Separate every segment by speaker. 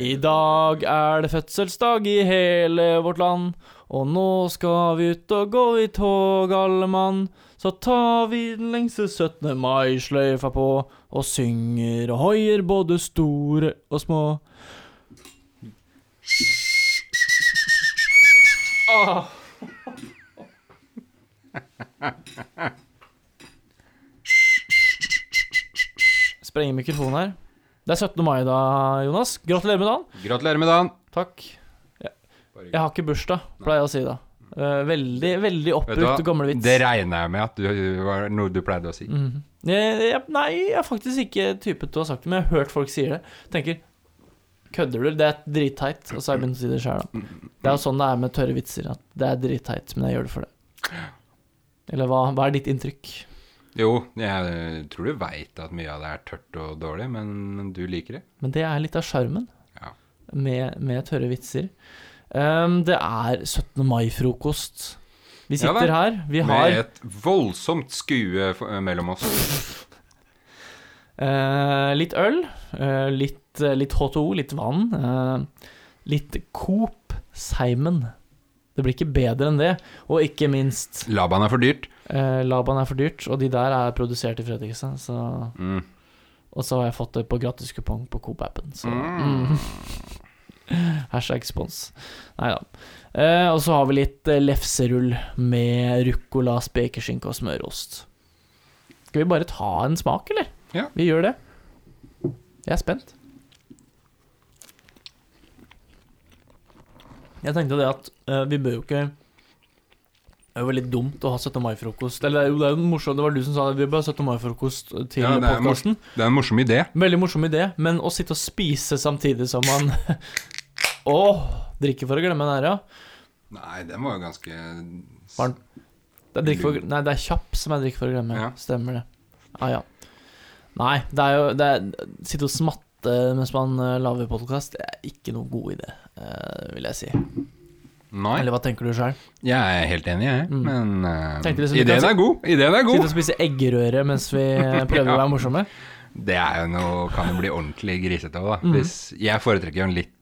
Speaker 1: I dag er det fødselsdag i hele vårt land. Og nå skal vi ut og gå i tog, alle mann. Så tar vi den lengste 17. mai-sløyfa på og synger og hoier både store og små. Åh. Sprenger mikrofonen her. Det er 17. mai da, Jonas. Gratulerer med dagen.
Speaker 2: Gratulerer med dagen.
Speaker 1: Takk. Jeg, jeg har ikke bursdag, pleier jeg å si da. Eh, veldig veldig
Speaker 2: Vet du
Speaker 1: oppbrukt
Speaker 2: hva?
Speaker 1: gamlevits.
Speaker 2: Det regner jeg med at du var noe du pleide å si.
Speaker 1: Mhm. Jeg, jeg, nei, jeg er faktisk ikke type til å ha sagt det, men jeg har hørt folk si det. Tenker Kødder du? Det er dritteit. Og så har jeg begynt å si det sjøl, da. Det er jo sånn det er med tørre vitser. At det er dritteit, men jeg gjør det for det. Eller hva, hva er ditt inntrykk?
Speaker 2: Jo, jeg tror du veit at mye av det er tørt og dårlig, men du liker det.
Speaker 1: Men det er litt av sjarmen
Speaker 2: Ja.
Speaker 1: med, med tørre vitser. Ehm, det er 17. mai-frokost. Vi
Speaker 2: Ja vel.
Speaker 1: sitter her. Vi har
Speaker 2: Med et voldsomt skue for- mellom oss.
Speaker 1: Eh, litt øl, eh, litt, eh, litt H2O, litt vann. eh, litt Coop Simon. Det blir ikke bedre enn det. Og ikke minst,
Speaker 2: Laban er for dyrt.
Speaker 1: eh, Laban er for dyrt, og de der er produsert i Fredrikstad. Så,
Speaker 2: Mm.
Speaker 1: og så har jeg fått det på gratiskupong på Coop-appen. Så
Speaker 2: Mm.
Speaker 1: mm. hashtag spons. Nei da. Eh, og så har vi litt eh, lefserull med ruccola, spekeskinke og smørost. Skal vi bare ta en smak, eller?
Speaker 2: Ja.
Speaker 1: Vi gjør det. Jeg er spent. Jeg tenkte det at eh, vi bør jo ikke Det er jo veldig dumt å ha 17. mai-frokost. Eller det er jo- det er jo morsomt, det var du som sa det, vi bør ha 17. mai-frokost til
Speaker 2: Ja, det er
Speaker 1: podkasten.
Speaker 2: Det er en morsom idé.
Speaker 1: Veldig morsom idé, men å sitte og spise samtidig som man Åh, drikke for å glemme en ære, ja.
Speaker 2: Nei, den var jo ganske
Speaker 1: Barn. Det er drikke for, nei, det er kjapp som er drikke for å glemme.
Speaker 2: Ja.
Speaker 1: Stemmer det. Ah, Ja, ja. Nei, det er jo det er, Sitte og smatte mens man eh, lager podkast, det er ikke noen god idé, eh, vil jeg si.
Speaker 2: Nei,
Speaker 1: Eller hva tenker du sjøl?
Speaker 2: jeg er helt enig, jeg.
Speaker 1: Mm.
Speaker 2: Men eh,
Speaker 1: Tenkte liksom vi
Speaker 2: ideen
Speaker 1: kan-
Speaker 2: er god. Ideen er
Speaker 1: Sitte og
Speaker 2: god.
Speaker 1: spise eggerøre mens vi eh, prøver å
Speaker 2: Ja.
Speaker 1: være morsomme?
Speaker 2: Det er jo noe Kan jo bli ordentlig grisete òg, da.
Speaker 1: Mhm.
Speaker 2: Hvis, jeg foretrekker jo en litt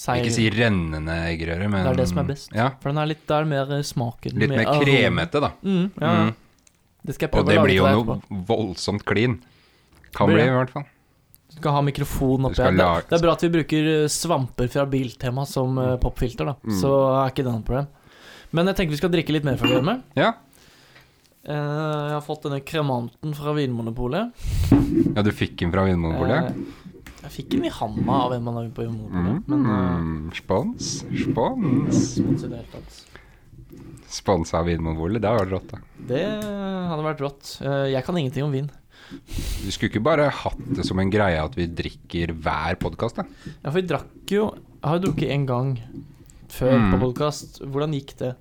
Speaker 1: Seig.
Speaker 2: Ikke si rennende eggerøre, men
Speaker 1: Det er det som er best.
Speaker 2: Ja,
Speaker 1: For den er litt, det er mer eh, smaken.
Speaker 2: litt mer
Speaker 1: aromen.
Speaker 2: kremete, da.
Speaker 1: Mm, ja, ja.
Speaker 2: Mm.
Speaker 1: Det skal jeg
Speaker 2: Og
Speaker 1: prøve
Speaker 2: det
Speaker 1: å lage til
Speaker 2: blir jo
Speaker 1: deg etterpå.
Speaker 2: noe voldsomt klin. Kan
Speaker 1: Blir
Speaker 2: bli,
Speaker 1: det?
Speaker 2: i hvert fall.
Speaker 1: Du skal ha mikrofonen
Speaker 2: Du
Speaker 1: oppi
Speaker 2: skal
Speaker 1: her. Det,
Speaker 2: lage-
Speaker 1: det er bra at vi bruker eh, svamper fra Biltema som eh, popfilter, da.
Speaker 2: Mm.
Speaker 1: Så er ikke det noe problem. Men jeg tenker vi skal drikke litt mer før vi gjør det.
Speaker 2: Ja.
Speaker 1: Eh, jeg har fått denne kremanten fra Vinmonopolet.
Speaker 2: ja, du fikk den fra Vinmonopolet?
Speaker 1: Eh, jeg fikk den i handa av en man har på Vinmonopolet.
Speaker 2: Mm. Spons,
Speaker 1: Men
Speaker 2: spons.
Speaker 1: eh, i det hele tatt.
Speaker 2: Sponsa av Vinmonopolet, det hadde vært rått, da.
Speaker 1: Det hadde vært rått. Eh, jeg kan ingenting om vin.
Speaker 2: Du skulle ikke bare hatt det som en greie at vi drikker hver podkast, da?
Speaker 1: Ja, for vi drakk jo Jeg har jo drukket én gang før
Speaker 2: Mm.
Speaker 1: på podkast. Hvordan gikk det?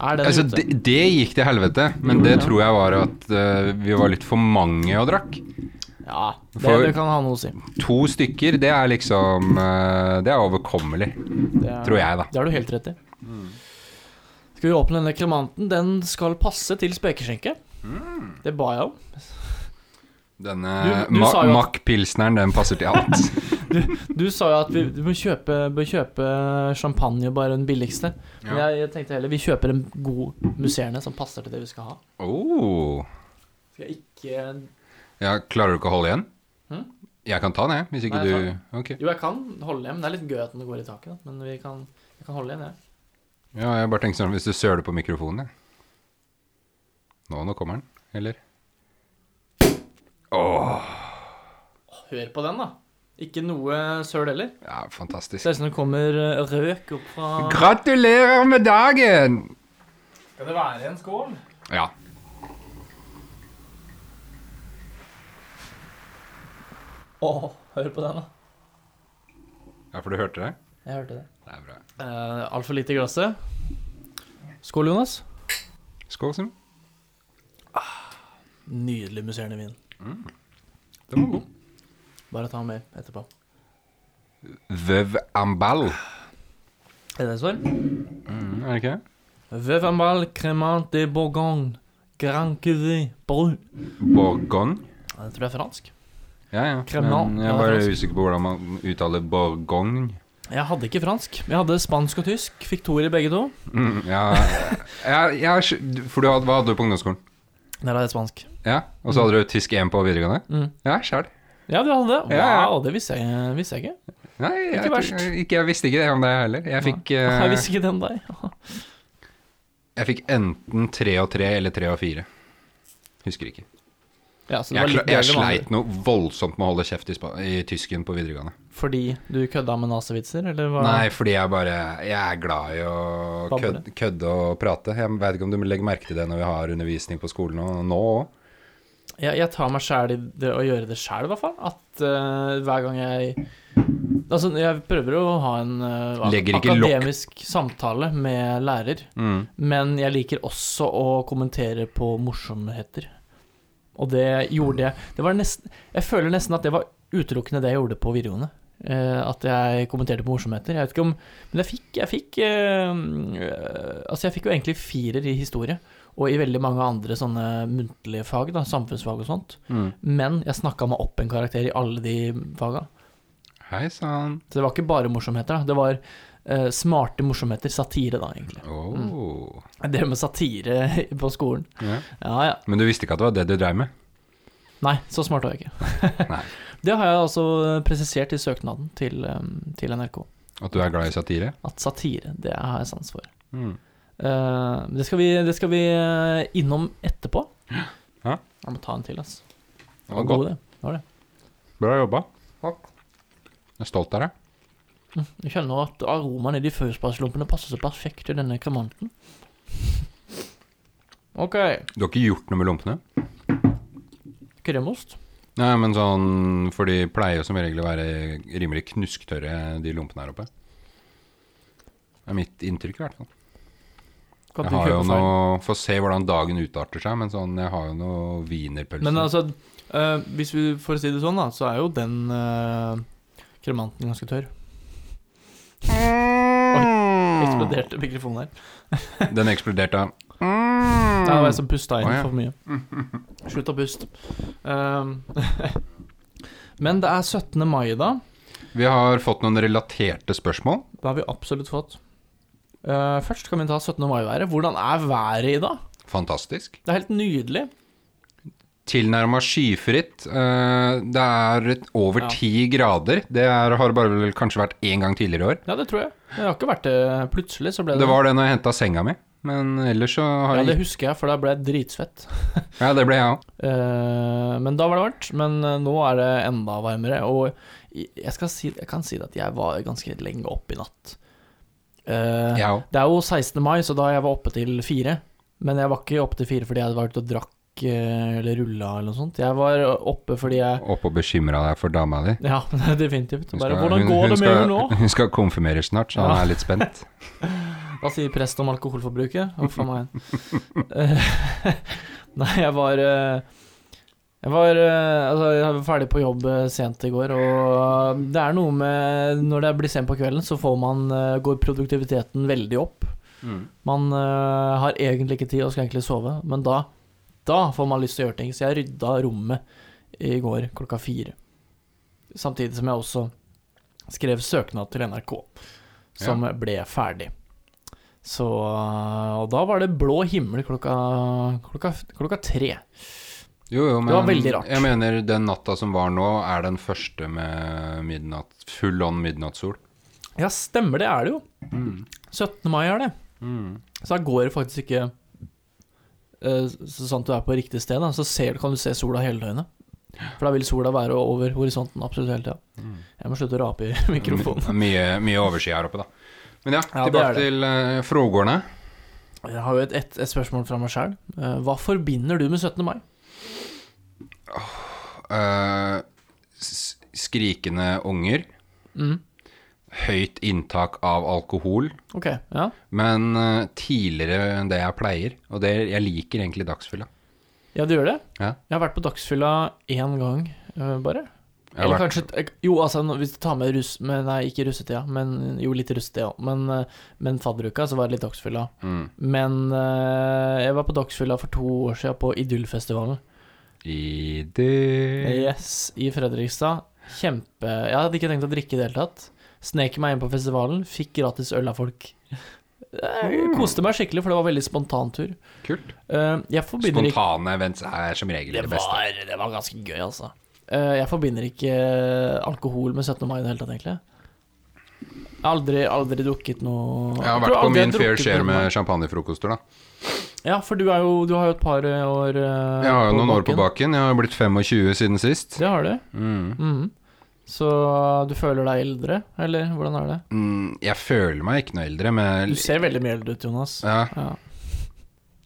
Speaker 1: Er den
Speaker 2: Altså,
Speaker 1: ute?
Speaker 2: det, det gikk til helvete, men det tror jeg var at eh, vi var litt for mange og drakk.
Speaker 1: Ja, det,
Speaker 2: for-
Speaker 1: det kan ha noe å si.
Speaker 2: To stykker, det er liksom eh, Det er overkommelig,
Speaker 1: Det er,
Speaker 2: tror jeg, da.
Speaker 1: Det har du helt rett i. Skal vi åpne denne kremanten? Den skal passe til spekeskinke. Det ba jeg om.
Speaker 2: Denne
Speaker 1: Du- du
Speaker 2: Ma
Speaker 1: sa jo at-
Speaker 2: Mack-pilsneren, den passer til alt.
Speaker 1: Du sa jo at vi vi må kjøpe, bør kjøpe champagne, bare den billigste. Men
Speaker 2: Ja.
Speaker 1: jeg, jeg tenkte heller vi kjøper en god musserende som passer til det vi skal ha.
Speaker 2: Oh.
Speaker 1: Skal jeg ikke
Speaker 2: Ja, klarer du ikke å holde igjen?
Speaker 1: Hm?
Speaker 2: Jeg kan ta den, jeg. Hvis ikke
Speaker 1: Nei, jeg
Speaker 2: du Ok.
Speaker 1: Jo, jeg kan holde igjen. men Det er litt gøy at den går i taket, da. men vi kan, jeg kan holde igjen, jeg.
Speaker 2: Ja, jeg bare tenkte sånn hvis du søler på mikrofonen, jeg. Nå, nå kommer den. Eller? Åh.
Speaker 1: Hør på den, da. Ikke noe søl heller.
Speaker 2: Ja, fantastisk.
Speaker 1: Ser ut som det kommer eh, røk opp fra
Speaker 2: Gratulerer med dagen!
Speaker 1: Skal det være en skål?
Speaker 2: Ja.
Speaker 1: Å, hør på den, da.
Speaker 2: ja, for du hørte det?
Speaker 1: Jeg hørte det.
Speaker 2: Det er bra.
Speaker 1: Uh, Altfor lite i glasset. Skål, Jonas.
Speaker 2: Skål, Simen.
Speaker 1: Nydelig musserende vin.
Speaker 2: Den var god.
Speaker 1: Bare ta mer etterpå.
Speaker 2: Veuve Ambal.
Speaker 1: Er det svar?
Speaker 2: Mm, er det ikke det?
Speaker 1: Veuvenbal cremant de Bourgogne. Grand Cuvée Bru.
Speaker 2: Bourgogne.
Speaker 1: Jeg tror det er fransk.
Speaker 2: Ja, ja.
Speaker 1: Cremant,
Speaker 2: Men
Speaker 1: ja,
Speaker 2: jeg
Speaker 1: det er
Speaker 2: var
Speaker 1: fransk.
Speaker 2: usikker på hvordan man uttaler bourgogne.
Speaker 1: Jeg hadde ikke fransk. men Jeg hadde spansk og tysk. Fikk toer i begge to.
Speaker 2: Mm, ja, jeg, jeg, har skj- for du hadde, hva hadde du på ungdomsskolen?
Speaker 1: Der hadde jeg spansk.
Speaker 2: Ja, Og så hadde du tysk 1 på videregående?
Speaker 1: Mm.
Speaker 2: Ja, sjæl.
Speaker 1: Ja, du hadde det? Wow,
Speaker 2: Ja, ja.
Speaker 1: det visste jeg, visste jeg ikke.
Speaker 2: Nei, jeg,
Speaker 1: Ikke verst.
Speaker 2: tror- ikke, jeg visste ikke det om deg heller. Jeg fikk,
Speaker 1: Jeg
Speaker 2: eh,
Speaker 1: visste ikke det om deg.
Speaker 2: jeg fikk enten 3 og 3 eller 3 og 4. Husker ikke.
Speaker 1: Ja, så det
Speaker 2: Jeg,
Speaker 1: var
Speaker 2: kla-
Speaker 1: litt
Speaker 2: jeg
Speaker 1: bedre vanlig.
Speaker 2: sleit noe voldsomt med å holde kjeft i, spa, i tysken på videregående.
Speaker 1: Fordi du kødda med nazivitser, eller hva?
Speaker 2: Nei, fordi jeg bare Jeg er glad i å
Speaker 1: Bable.
Speaker 2: kødde, kødde og prate. Jeg vet ikke om du legger merke til det når vi har undervisning på skolen og nå òg.
Speaker 1: Jeg, jeg tar meg sjæl i det å gjøre det sjæl, i hvert fall. At eh, hver gang jeg Altså, jeg prøver å ha en eh, ak-
Speaker 2: Legger ikke lokk.
Speaker 1: akademisk samtale med lærer,
Speaker 2: Mm.
Speaker 1: men jeg liker også å kommentere på morsomheter. Og det gjorde jeg Det var nesten Jeg føler nesten at det var utelukkende det jeg gjorde på videregående. Eh, at jeg kommenterte på morsomheter. Jeg vet ikke om Men jeg fikk, jeg fikk eh, eh, Altså, jeg fikk jo egentlig firer i historie, og i veldig mange andre sånne muntlige fag, da, samfunnsfag og sånt.
Speaker 2: Mm.
Speaker 1: Men jeg snakka meg opp en karakter i alle de faga.
Speaker 2: Hei sann.
Speaker 1: Så det var ikke bare morsomheter, da. Det var eh, smarte morsomheter. Satire, da, egentlig.
Speaker 2: Oh.
Speaker 1: Jeg drev med satire på skolen.
Speaker 2: Ja.
Speaker 1: Ja, ja.
Speaker 2: Men du visste ikke at det var det du dreiv med?
Speaker 1: Nei, så smart var jeg ikke.
Speaker 2: Nei.
Speaker 1: det har jeg altså presisert i søknaden til, eh, til NRK.
Speaker 2: At du er glad i satire?
Speaker 1: At satire, det har jeg sans for.
Speaker 2: Mm.
Speaker 1: Eh, det, skal vi, det skal vi eh, innom etterpå.
Speaker 2: Ja.
Speaker 1: Jeg må ta en til, ass.
Speaker 2: Det var
Speaker 1: God
Speaker 2: godt.
Speaker 1: idé. Det var det.
Speaker 2: Bra jobba. Jeg er stolt av deg.
Speaker 1: Mm, Jeg kjenner at aromaen i de førspasslumpene passer så perfekt til denne kremanten. Ok.
Speaker 2: Du har ikke gjort noe med lompene?
Speaker 1: Kremost.
Speaker 2: Nei, men sånn For de pleier jo som regel å være rimelig knusktørre, de lompene her oppe. Det er mitt inntrykk, i hvert fall.
Speaker 1: Kan
Speaker 2: Jeg
Speaker 1: du
Speaker 2: har jo
Speaker 1: kjøpe feil?
Speaker 2: noe Får se hvordan dagen utarter seg, men sånn, jeg har jo noe wienerpølse.
Speaker 1: Men altså, eh, hvis vi får si det sånn, da, så er jo den eh, kremanten ganske tørr.
Speaker 2: Mm.
Speaker 1: Eksploderte mikrofonen her.
Speaker 2: Den eksploderte.
Speaker 1: Nei, det var jeg som pusta inn
Speaker 2: Å, ja.
Speaker 1: for mye. Slutt å puste. Um, Men det er 17. mai, da.
Speaker 2: Vi har fått noen relaterte spørsmål.
Speaker 1: Det har vi absolutt fått. Eh, først kan vi ta 17. mai-været. Hvordan er været i dag?
Speaker 2: Fantastisk.
Speaker 1: Det er helt nydelig.
Speaker 2: Tilnærma skyfritt. Eh, Det er et- over
Speaker 1: Ja.
Speaker 2: ti grader. Det er, har bare vel kanskje vært én gang tidligere i år.
Speaker 1: Ja, det tror jeg. Det har ikke vært det plutselig, så ble det
Speaker 2: Det var det når jeg henta senga mi, men ellers så har
Speaker 1: Ja, det
Speaker 2: jeg
Speaker 1: husker jeg, for da ble jeg dritsvett.
Speaker 2: Ja, det ble jeg òg.
Speaker 1: Eh, men da var det varmt. Men eh, nå er det enda varmere. Og i- jeg, skal si, jeg kan si det at jeg var ganske lenge oppe i natt. Eh,
Speaker 2: Jeg òg.
Speaker 1: Det er jo 16. mai, så da jeg var oppe til fire. Men jeg var ikke oppe til fire fordi jeg hadde vært ute og drakk eh, eller rulla eller noe sånt. Jeg var oppe fordi jeg
Speaker 2: Opp og bekymra deg for dama di.
Speaker 1: Ja, definitivt.
Speaker 2: Hun
Speaker 1: Bare
Speaker 2: skal-
Speaker 1: Hvordan
Speaker 2: hun-
Speaker 1: går
Speaker 2: hun
Speaker 1: det med
Speaker 2: skal-
Speaker 1: henne nå?
Speaker 2: Hun skal konfirmeres snart, så
Speaker 1: Ja.
Speaker 2: han er litt spent.
Speaker 1: Hva sier prest om alkoholforbruket? Huff a meg. Eh, Nei, jeg var eh, Jeg var eh, altså, jeg var ferdig på jobb eh, sent i går, og eh, det er noe med Når det blir sent på kvelden, så får man, eh, går produktiviteten veldig opp. Man øh, har egentlig ikke tid og skal egentlig sove, men da, da får man lyst til å gjøre ting. Så jeg rydda rommet i går klokka fire. Samtidig som jeg også skrev søknad til NRK, som ble ferdig. Så øh, Og da var det blå himmel klokka, klokka, klokka tre.
Speaker 2: Jo, jo, men
Speaker 1: Det var veldig rart.
Speaker 2: Jeg mener den natta som var nå, er den første med midnatt, full on midnattssol.
Speaker 1: Ja, stemmer det, er det jo. Mm. 17. mai er det. Så da går det faktisk ikke eh, Så sant du er på riktig sted, da, så ser, kan du se sola hele døgnet. For da vil sola være over horisonten absolutt hele tida. Jeg må slutte å rape i mikrofonen.
Speaker 2: M- Mye, mye oversky her oppe, da. Men ja,
Speaker 1: Ja, det er
Speaker 2: tilbake
Speaker 1: det.
Speaker 2: til uh, frågårdene.
Speaker 1: Jeg har jo et, et, et spørsmål fra meg sjøl. hva forbinder du med 17. mai?
Speaker 2: Eh, s- skrikende unger.
Speaker 1: Mm.
Speaker 2: Høyt inntak av alkohol.
Speaker 1: Ok, ja.
Speaker 2: Men eh, tidligere enn det jeg pleier. Og det, jeg liker egentlig dagsfylla.
Speaker 1: ja, du gjør det?
Speaker 2: Ja.
Speaker 1: Jeg har vært på Dagsfylla én gang, eh, bare.
Speaker 2: Jeg har
Speaker 1: Eller
Speaker 2: vært-
Speaker 1: kanskje Jo, altså, når- hvis du tar med russ... Men nei, ikke russetida, men jo, litt russetida òg. Men, eh, men fadderuka, så var det litt Dagsfylla.
Speaker 2: Mm.
Speaker 1: Men eh, jeg var på Dagsfylla for to år siden på Idyllfestivalen.
Speaker 2: I det
Speaker 1: Yes, i Fredrikstad. Kjempe Jeg hadde ikke tenkt å drikke i det hele tatt. Snek meg inn på festivalen, fikk gratis øl av folk. Jeg koste meg skikkelig, for det var veldig spontan tur.
Speaker 2: Mm. Kult.
Speaker 1: Eh, Jeg forbinder ikke
Speaker 2: Spontane events er som regel
Speaker 1: det
Speaker 2: det beste.
Speaker 1: var, det var ganske gøy, altså. Eh, Jeg forbinder ikke eh, alkohol med 17. mai i det hele tatt, egentlig. Jeg har aldri, aldri drukket noe
Speaker 2: Jeg har
Speaker 1: tror
Speaker 2: vært på
Speaker 1: aldri jeg
Speaker 2: min
Speaker 1: har
Speaker 2: fair
Speaker 1: drukket
Speaker 2: share
Speaker 1: noe.
Speaker 2: med champagnefrokoster, da.
Speaker 1: Ja, for du, er jo, du har jo et par eh, år eh,
Speaker 2: Jeg har jo noen år på
Speaker 1: baken.
Speaker 2: baken. Jeg har blitt 25 siden sist.
Speaker 1: Det har du.
Speaker 2: Mm.
Speaker 1: Mhm. Så eh, du føler deg eldre, eller hvordan er det?
Speaker 2: Mm, Jeg føler meg ikke noe eldre, men
Speaker 1: Du ser veldig mye eldre ut, Jonas.
Speaker 2: Ja,
Speaker 1: Ja.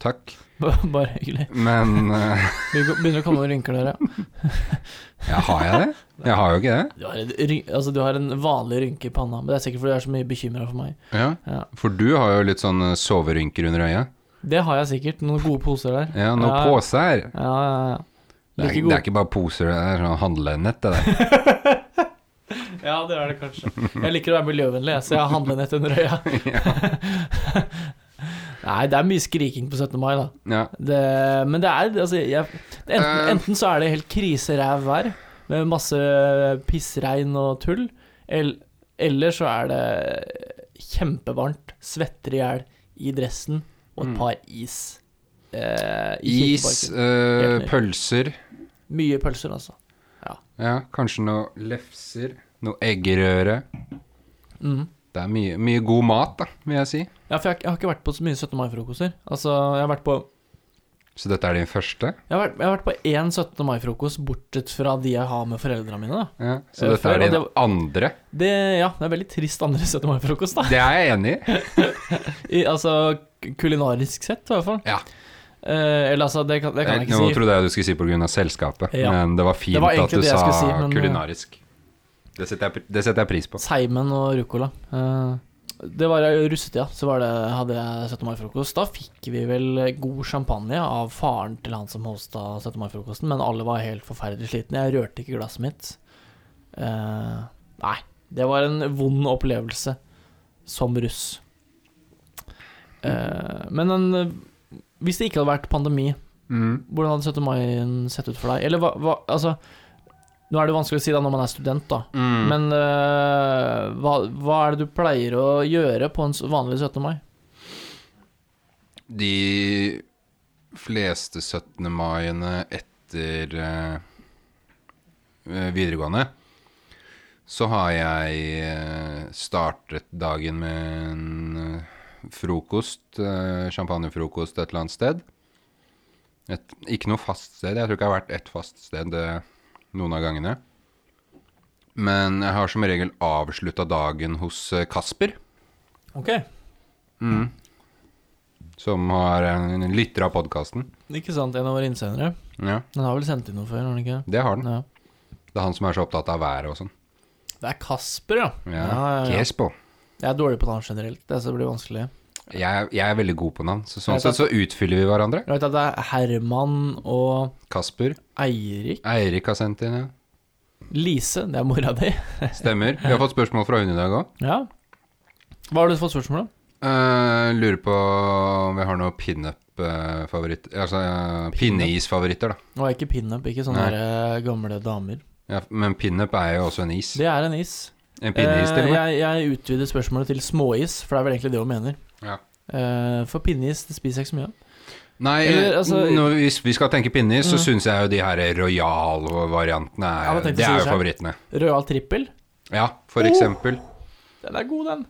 Speaker 2: takk.
Speaker 1: Bare hyggelig.
Speaker 2: Men eh,
Speaker 1: Begynner begynner å komme noen rynker der, ja.
Speaker 2: ja, har jeg det? Jeg har jo ikke det.
Speaker 1: Du har, en ryn- altså, du har en vanlig rynke i panna, men det er sikkert fordi du er så mye bekymra for meg.
Speaker 2: Ja.
Speaker 1: Ja.
Speaker 2: For du har jo litt sånn eh, soverynker under øya.
Speaker 1: Det har jeg sikkert. Noen gode poser der.
Speaker 2: Ja, noen
Speaker 1: Ja.
Speaker 2: poser.
Speaker 1: Ja, ja, ja.
Speaker 2: Det er,
Speaker 1: Like
Speaker 2: ikke- det
Speaker 1: gode.
Speaker 2: er ikke bare poser, det er sånn handlenett, det der.
Speaker 1: Ja, det er det kanskje. Jeg liker å være miljøvennlig, jeg, så jeg har handlenett under øya. Nei, det er mye skriking på 17. mai, da.
Speaker 2: Ja.
Speaker 1: Det, men det er altså, jeg, enten,
Speaker 2: Eh.
Speaker 1: enten så er det helt kriseræv vær med masse pissregn og tull, el, eller så er det kjempevarmt, svetter i hjel i dressen og et
Speaker 2: Mm.
Speaker 1: par is. Eh, i
Speaker 2: Is,
Speaker 1: kirkeparken.
Speaker 2: eh,
Speaker 1: Helt nydelig.
Speaker 2: pølser,
Speaker 1: Mye pølser, altså.
Speaker 2: ja, kanskje noe lefser, noe eggerøre.
Speaker 1: Mm.
Speaker 2: Det er mye, mye god mat, da, vil jeg si.
Speaker 1: Ja, for jeg, har ikke- jeg har ikke vært på så mye 17. mai-frokoster. Altså, jeg har vært på
Speaker 2: Så dette er din første?
Speaker 1: jeg har vært, jeg har vært på én 17. mai-frokost, bortsett fra de jeg har med foreldrene mine. Da.
Speaker 2: Ja. Så
Speaker 1: Eh,
Speaker 2: dette
Speaker 1: før,
Speaker 2: er din
Speaker 1: og det
Speaker 2: andre?
Speaker 1: Det, ja, det er veldig trist andre 17. mai-frokost, da.
Speaker 2: Det er jeg enig i.
Speaker 1: I, altså k- kulinarisk sett, i hvert fall.
Speaker 2: Ja.
Speaker 1: Eh, eller altså, det kan, det kan jeg
Speaker 2: Nå
Speaker 1: ikke si.
Speaker 2: trodde jeg du skulle si pga. selskapet,
Speaker 1: Ja.
Speaker 2: men det var fint
Speaker 1: Det var
Speaker 2: at
Speaker 1: egentlig
Speaker 2: du
Speaker 1: det jeg
Speaker 2: sa
Speaker 1: skulle si, men- eh,
Speaker 2: kulinarisk. Det setter, jeg, pri- det setter jeg pris på.
Speaker 1: Seimen og ruccola. Eh, det var i russetida, så var det, hadde jeg 17. mai-frokost. Da fikk vi vel god champagne av faren til han som hosta 17. mai-frokosten, men alle var helt forferdelig slitne. Jeg rørte ikke glasset mitt. Eh, nei, det var en vond opplevelse som russ. Eh, men en, hvis det ikke hadde vært pandemi,
Speaker 2: Mm.
Speaker 1: Hvordan hadde 17. mai sett ut for deg? Eller hva, hva Altså, nå er det jo vanskelig å si da når man er student, da.
Speaker 2: Mm.
Speaker 1: Men øh, hva, hva er det du pleier å gjøre på en s- vanlig 17. mai?
Speaker 2: De fleste 17. maiene etter eh, videregående så har jeg eh, startet dagen med en eh, frokost, eh, champagnefrokost et eller annet sted. Et, ikke noe fast sted. Jeg tror ikke jeg har vært ett fast sted eh, noen av gangene. Men jeg har som regel avslutta dagen hos eh, Kasper.
Speaker 1: Ok,
Speaker 2: Som har en, en lytter av podkasten.
Speaker 1: ikke sant. En av våre innsendere.
Speaker 2: Ja,
Speaker 1: Den har vel sendt inn noe før, har den ikke?
Speaker 2: det har den.
Speaker 1: Ja.
Speaker 2: Det er han som er så opptatt av været og sånn.
Speaker 1: Det er Kasper, ja.
Speaker 2: Ja,
Speaker 1: Ja, ja, ja.
Speaker 2: Kespo.
Speaker 1: Jeg er dårlig på navn generelt. Det er så det blir vanskelig.
Speaker 2: Jeg, er- jeg er veldig god på navn, så sånn
Speaker 1: Jeg vet
Speaker 2: sett så utfyller vi hverandre.
Speaker 1: Jeg vet at det er Herman og
Speaker 2: Kasper.
Speaker 1: Eirik.
Speaker 2: Eirik har sendt inn, ja.
Speaker 1: Lise, det er mora di.
Speaker 2: Stemmer. Vi har fått spørsmål fra hun i dag òg.
Speaker 1: Ja. Hva har du fått spørsmål om?
Speaker 2: Eh, lurer på om vi har noen pinup-favoritt... Altså eh, pinneisfavoritter, da.
Speaker 1: Nå er ikke pinup, ikke sånne
Speaker 2: Nei.
Speaker 1: der, øh, gamle damer.
Speaker 2: Ja, men pinup er jo også en is.
Speaker 1: Det er en is.
Speaker 2: En pinneis, til og
Speaker 1: Eh,
Speaker 2: med.
Speaker 1: jeg, jeg utvider spørsmålet til småis, for det er vel egentlig det hun mener.
Speaker 2: Ja.
Speaker 1: Eh, for pinneis det spiser jeg ikke så mye av.
Speaker 2: Nei, eh,
Speaker 1: Eller, altså- Mm.
Speaker 2: når, hvis vi skal tenke pinneis, så syns jeg jo de her royal-variantene
Speaker 1: Ja,
Speaker 2: er,
Speaker 1: jeg tenkte å
Speaker 2: det
Speaker 1: si
Speaker 2: er
Speaker 1: det
Speaker 2: jo
Speaker 1: selv.
Speaker 2: favorittene.
Speaker 1: Royal trippel,
Speaker 2: Ja, for
Speaker 1: Oh!
Speaker 2: eksempel.
Speaker 1: den er god, den.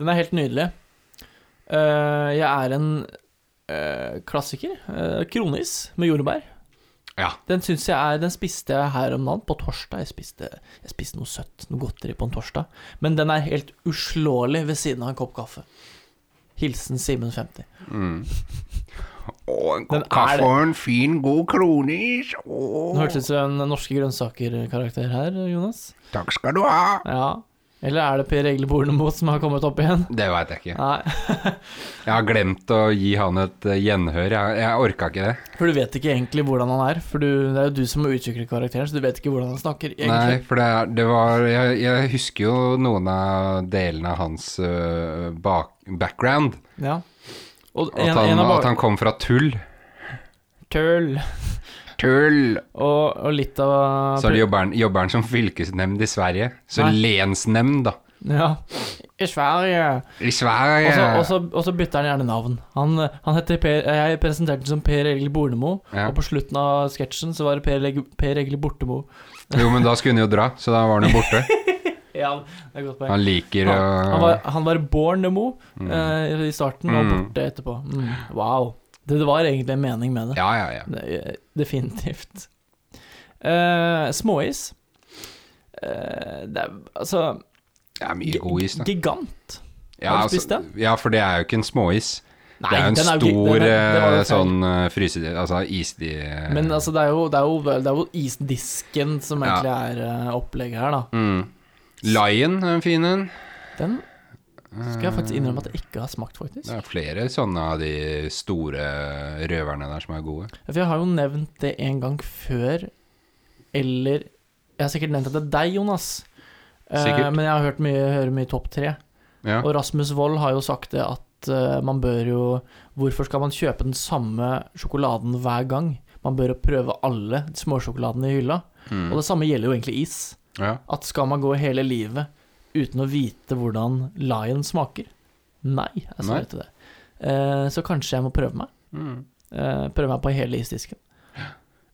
Speaker 1: Den er helt nydelig. Eh, jeg er en eh, klassiker. Eh, kronis med jordbær.
Speaker 2: Ja.
Speaker 1: Den syns jeg er Den spiste jeg her om dagen, på torsdag. Jeg spiste, jeg spiste noe søtt, noe godteri på en torsdag. Men den er helt uslåelig ved siden av en kopp kaffe. Hilsen Simen 50.
Speaker 2: Mm. Og en
Speaker 1: kopp Den er kaffe det.
Speaker 2: og en fin, god kronis.
Speaker 1: Nå hørtes det ut som en norske grønnsaker-karakter her, Jonas.
Speaker 2: Takk skal du ha.
Speaker 1: Ja. Eller er det Per Egil Bornemo som har kommet opp igjen?
Speaker 2: Det veit jeg ikke.
Speaker 1: Nei,
Speaker 2: Jeg har glemt å gi han et eh, gjenhør. Jeg, jeg orka ikke det.
Speaker 1: for du vet ikke egentlig hvordan han er. For du, det er jo du som må utvikle karakteren, så du vet ikke hvordan han snakker.
Speaker 2: Nei,
Speaker 1: egentlig.
Speaker 2: for det, er- det var jeg, jeg husker jo noen av delene av hans eh, bak, background.
Speaker 1: Ja. Og
Speaker 2: At
Speaker 1: en,
Speaker 2: han,
Speaker 1: en av
Speaker 2: at
Speaker 1: bare
Speaker 2: han kom fra tull.
Speaker 1: Tøll.
Speaker 2: tull!
Speaker 1: Og, og litt av
Speaker 2: Så er det jobberen, jobberen som fylkesnemnd i Sverige. Så
Speaker 1: Nei.
Speaker 2: lensnemnd, da.
Speaker 1: Ja. I Sverige.
Speaker 2: I
Speaker 1: Og
Speaker 2: Sverige!
Speaker 1: så- Og så og så bytter han gjerne navn. Han, han heter per, Jeg presenterte ham som Per Egil Bornemo,
Speaker 2: Ja.
Speaker 1: og på slutten av sketsjen så var det Per, Eg- per Egil Bortemo.
Speaker 2: Jo, men da skulle han jo dra, så da var han jo borte.
Speaker 1: Ja, det er et godt poeng.
Speaker 2: Han liker å
Speaker 1: Han, han, var, han var Bornemo eh, i starten, og
Speaker 2: Mm.
Speaker 1: borte etterpå. Mm. Wow. Det, det var egentlig en mening med det.
Speaker 2: Ja, ja, ja.
Speaker 1: Det er Definitivt. Eh, småis. Eh, det er altså
Speaker 2: Det er mye god is, da.
Speaker 1: Gigant.
Speaker 2: Ja, altså-
Speaker 1: Har du spist den?
Speaker 2: ja, for det er jo ikke en småis.
Speaker 1: Nei,
Speaker 2: det er jo en
Speaker 1: den
Speaker 2: stor
Speaker 1: jo ikke- den er- det var jo
Speaker 2: eh,
Speaker 1: feil.
Speaker 2: sånn eh, fryse... Altså isdi...
Speaker 1: Men altså, det er jo, det er jo, det er jo isdisken som
Speaker 2: Ja.
Speaker 1: egentlig er eh, opplegget her, da.
Speaker 2: mm. Lion er en fin en.
Speaker 1: Den skal
Speaker 2: Eh.
Speaker 1: jeg faktisk innrømme at jeg ikke har smakt, faktisk.
Speaker 2: Det er flere sånne av de store røverne der som er gode.
Speaker 1: For jeg har jo nevnt det en gang før, eller Jeg har sikkert nevnt det til deg, Jonas. Eh,
Speaker 2: Sikkert.
Speaker 1: men jeg har hørt mye, hører mye Topp tre.
Speaker 2: Ja.
Speaker 1: Og Rasmus Wold har jo sagt det at eh, man bør jo Hvorfor skal man kjøpe den samme sjokoladen hver gang? Man bør jo prøve alle småsjokoladene i hylla.
Speaker 2: Mm.
Speaker 1: Og det samme gjelder jo egentlig is.
Speaker 2: ja.
Speaker 1: At skal man gå hele livet uten å vite hvordan Lion smaker? Nei, jeg
Speaker 2: Nei.
Speaker 1: svarer til det. Eh, så kanskje jeg må prøve meg.
Speaker 2: Mm.
Speaker 1: Eh, prøve meg på hele isdisken.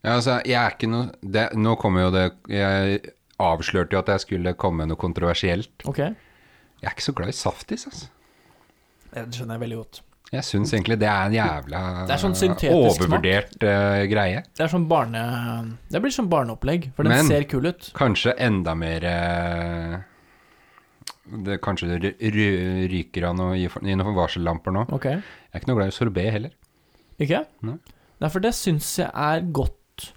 Speaker 2: Ja, altså, jeg er ikke noe det, Nå kommer jo det Jeg avslørte jo at jeg skulle komme med noe kontroversielt.
Speaker 1: Ok,
Speaker 2: Jeg er ikke så glad i saftis, altså.
Speaker 1: det skjønner jeg veldig godt.
Speaker 2: Jeg syns egentlig det er en jævla
Speaker 1: Det er sånn syntetisk smak.
Speaker 2: overvurdert eh, greie.
Speaker 1: Det er sånn barne... Det blir sånn barneopplegg, for den
Speaker 2: Men-
Speaker 1: ser kul ut.
Speaker 2: Kanskje enda mer eh, det, Kanskje det ry- ry- ryker av noe i, for- i noen varsellamper nå.
Speaker 1: Ok,
Speaker 2: Jeg er ikke noe glad i sorbet heller.
Speaker 1: ikke?
Speaker 2: Nei.
Speaker 1: Nei, for det syns jeg er godt.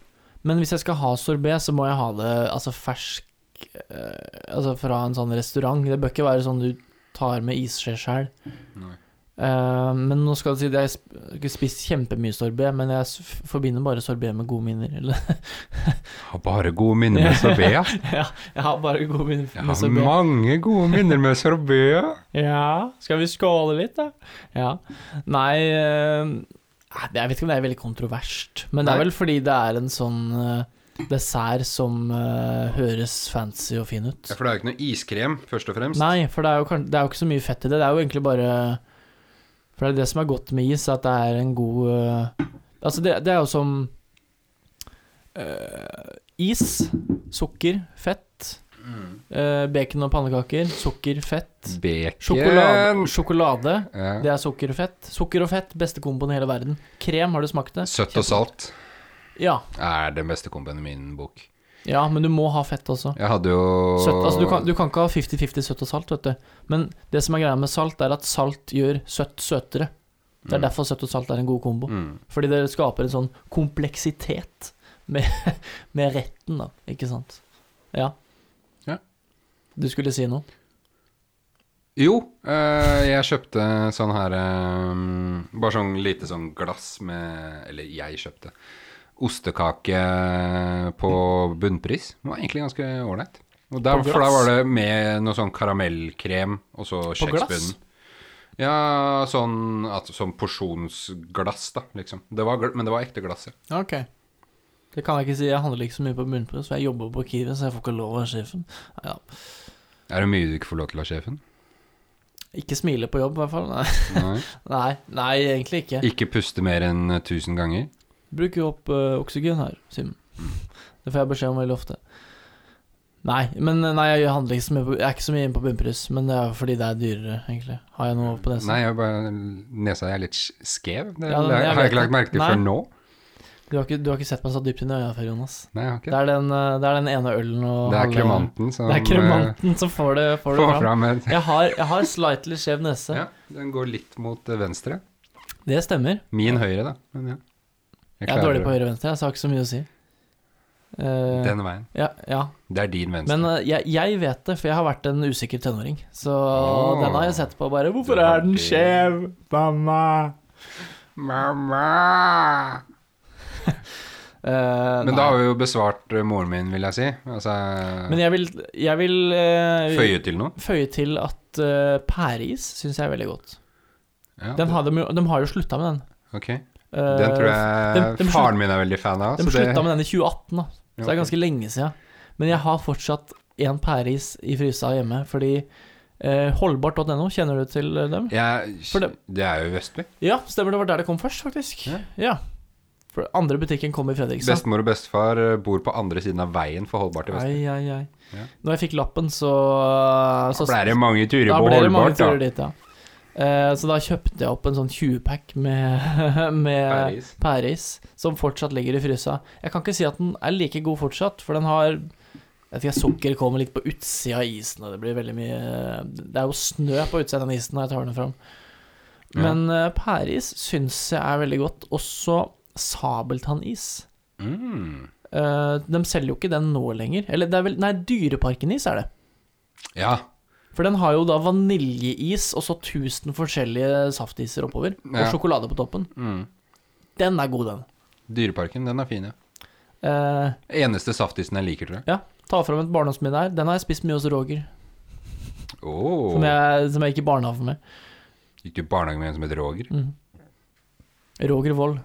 Speaker 1: Men hvis jeg skal ha sorbet, så må jeg ha det altså fersk eh, Altså fra en sånn restaurant. Det bør ikke være sånn du tar med isskje sjøl.
Speaker 2: Nei.
Speaker 1: Eh, men nå skal du si at jeg sp- har ikke spist kjempemye sorbet, men jeg s- f- forbinder bare sorbet med gode minner. Eller
Speaker 2: Har bare gode minner med sorbet, ja.
Speaker 1: ja, jeg har bare gode minner
Speaker 2: Jeg
Speaker 1: med
Speaker 2: har
Speaker 1: sorbet.
Speaker 2: mange gode minner med sorbet. ja.
Speaker 1: Ja, skal vi skåle litt, da? Ja. Nei eh, det- Jeg vet ikke om det er veldig kontroverst, men det
Speaker 2: Nei.
Speaker 1: er vel fordi det er en sånn eh, dessert som eh, høres fancy og fin ut.
Speaker 2: Ja, For det er jo ikke noe iskrem, først og fremst.
Speaker 1: Nei, for det er, jo, kan- det er jo ikke så mye fett i det. Det er jo egentlig bare For det er det som er godt med is, at det er en god eh, Altså, det, det er jo som eh, is, sukker, fett.
Speaker 2: Mm.
Speaker 1: eh, bacon og pannekaker, sukker, fett.
Speaker 2: Bacon
Speaker 1: Sjokolade, sjokolade
Speaker 2: Ja.
Speaker 1: det er sukker og fett. Sukker og fett, beste komboen i hele verden. Krem, har du smakt det?
Speaker 2: Søtt og salt
Speaker 1: Ja,
Speaker 2: er den beste komboen i min bok.
Speaker 1: ja men du må ha fett også.
Speaker 2: Jeg hadde jo
Speaker 1: Søtt, altså, du, kan, du kan ikke ha 50-50 søtt og salt, vet du. Men det som er greia med salt, er at salt gjør søtt søtere. Det er
Speaker 2: Mm.
Speaker 1: derfor søtt og salt er en god kombo.
Speaker 2: Mm.
Speaker 1: Fordi det skaper en sånn kompleksitet med, med retten, da. Ikke sant? Ja.
Speaker 2: Ja.
Speaker 1: Du skulle si noe?
Speaker 2: Jo, eh, jeg kjøpte sånn her eh, Bare sånn lite sånn glass med Eller jeg kjøpte ostekake på bunnpris. Det var egentlig ganske ålreit. Og der,
Speaker 1: På glass?
Speaker 2: for da var det med noe sånn karamellkrem, og så kjeksbunnen.
Speaker 1: glass?
Speaker 2: Ja, sånn at, sånn porsjonsglass, da, liksom. Det var, gl- men det var ekte glass, ja.
Speaker 1: Ok. Det kan jeg ikke si. Jeg handler ikke så mye på bunnpris, for jeg jobber på Kiwi, så jeg får ikke lov av sjefen. Ja.
Speaker 2: Er det mye du ikke får lov til av sjefen?
Speaker 1: Ikke smile på jobb, i hvert fall. Nei,
Speaker 2: Nei.
Speaker 1: nei, nei egentlig ikke.
Speaker 2: Ikke puste mer enn 1000 ganger.
Speaker 1: Bruker jo opp ø, oksygen her, Simen. Det får jeg beskjed om veldig ofte. Nei, men eh, nei, jeg handler ikke så mye på, jeg er ikke så mye inne på bunnpris, men det er jo fordi det er dyrere, egentlig. Har jeg noe på nesen?
Speaker 2: Nei, jeg bare, nesa er litt skev. Det
Speaker 1: Altså. Ja, den- jeg
Speaker 2: har jeg
Speaker 1: vet
Speaker 2: ikke lagt merke til
Speaker 1: det.
Speaker 2: før nå.
Speaker 1: Du, har ikke, du har ikke sett meg så dypt inn i øya før, Jonas.
Speaker 2: Nei, jeg har
Speaker 1: Det
Speaker 2: ikke det.
Speaker 1: er den, ø, det er den ene ølen og
Speaker 2: Det er
Speaker 1: halve-
Speaker 2: kremanten som
Speaker 1: Det er kremanten som får det,
Speaker 2: eh,
Speaker 1: får det
Speaker 2: får
Speaker 1: fram.
Speaker 2: fram et
Speaker 1: Jeg har, jeg har slightly skjev nese.
Speaker 2: ja, Den går litt mot eh, venstre.
Speaker 1: Det stemmer.
Speaker 2: Min høyre, da. Men ja.
Speaker 1: Jeg er dårlig på
Speaker 2: høyre.
Speaker 1: høyre-venstre, så jeg har ikke så mye å si. Eh,
Speaker 2: Den veien.
Speaker 1: ja, ja.
Speaker 2: Det er din venstre.
Speaker 1: Men eh, jeg, jeg vet det, for jeg har vært en usikker tenåring. Så
Speaker 2: Åh.
Speaker 1: den har jeg sett på og bare Hvorfor
Speaker 2: Du
Speaker 1: er
Speaker 2: har
Speaker 1: den
Speaker 2: Ah. det.
Speaker 1: skjev, mamma?
Speaker 2: Mamma!
Speaker 1: Eh,
Speaker 2: Men
Speaker 1: nei.
Speaker 2: da har vi jo besvart eh, moren min, vil jeg si. Altså
Speaker 1: Men jeg vil, jeg vil eh,
Speaker 2: Føye til noe.
Speaker 1: føye til at eh, pæreis syns jeg er veldig godt.
Speaker 2: Ja,
Speaker 1: Den
Speaker 2: det-
Speaker 1: har de, jo, de har jo slutta med den.
Speaker 2: ok.
Speaker 1: Eh,
Speaker 2: Den tror jeg
Speaker 1: de- de slutt-
Speaker 2: faren min er veldig fan av.
Speaker 1: De
Speaker 2: så det-
Speaker 1: slutta med den i 2018, da. Så det
Speaker 2: Ja,
Speaker 1: er ganske lenge siden. Men jeg har fortsatt én pæreis i frysa hjemme, fordi eh, holdbart.no, kjenner du til eh, dem?
Speaker 2: Jeg-
Speaker 1: For det-
Speaker 2: det er jo Vestby.
Speaker 1: Ja, stemmer det var der det kom først, faktisk.
Speaker 2: Ja.
Speaker 1: Ja. For andre butikken kom i Fredrikstad.
Speaker 2: Bestemor og bestefar eh, bor på andre siden av veien for Holdbart i
Speaker 1: Ai,
Speaker 2: Vestby.
Speaker 1: ai, ai.
Speaker 2: Ja.
Speaker 1: Når jeg fikk lappen, så,
Speaker 2: Da
Speaker 1: så
Speaker 2: ble det mange
Speaker 1: altså,
Speaker 2: turer
Speaker 1: da
Speaker 2: på
Speaker 1: ble det mange
Speaker 2: Holdbart, da.
Speaker 1: turer dit, ja. Eh, så da kjøpte jeg opp en sånn 20-pack med, med
Speaker 2: Pæreis.
Speaker 1: pæreis, som fortsatt ligger i frysa. Jeg kan ikke si at den er like god fortsatt, for den har jeg vet ikke, Sukker kommer litt på utsida av isen, og det blir veldig mye Det er jo snø på utsida av den isen når jeg tar den fram.
Speaker 2: Ja.
Speaker 1: Men eh, pæreis syns jeg er veldig godt. Også sabeltannis.
Speaker 2: Mm.
Speaker 1: Eh, de selger jo ikke den nå lenger. Eller det er vel Nei, Dyreparken-is er det.
Speaker 2: Ja.
Speaker 1: For den har jo da vaniljeis og så 1000 forskjellige saftiser oppover.
Speaker 2: Ja.
Speaker 1: Og sjokolade på toppen.
Speaker 2: Mm.
Speaker 1: Den er god, den.
Speaker 2: Dyreparken, den er fin, ja.
Speaker 1: Eh,
Speaker 2: Eneste saftisen jeg liker, tror jeg.
Speaker 1: ja, ta fram et barndomsminne her. Den har jeg spist mye hos Roger.
Speaker 2: Åh
Speaker 1: Som, jeg, som jeg gikk i barnehage med.
Speaker 2: Gikk du i barnehage med en som heter Roger?
Speaker 1: Mm. Roger Wold.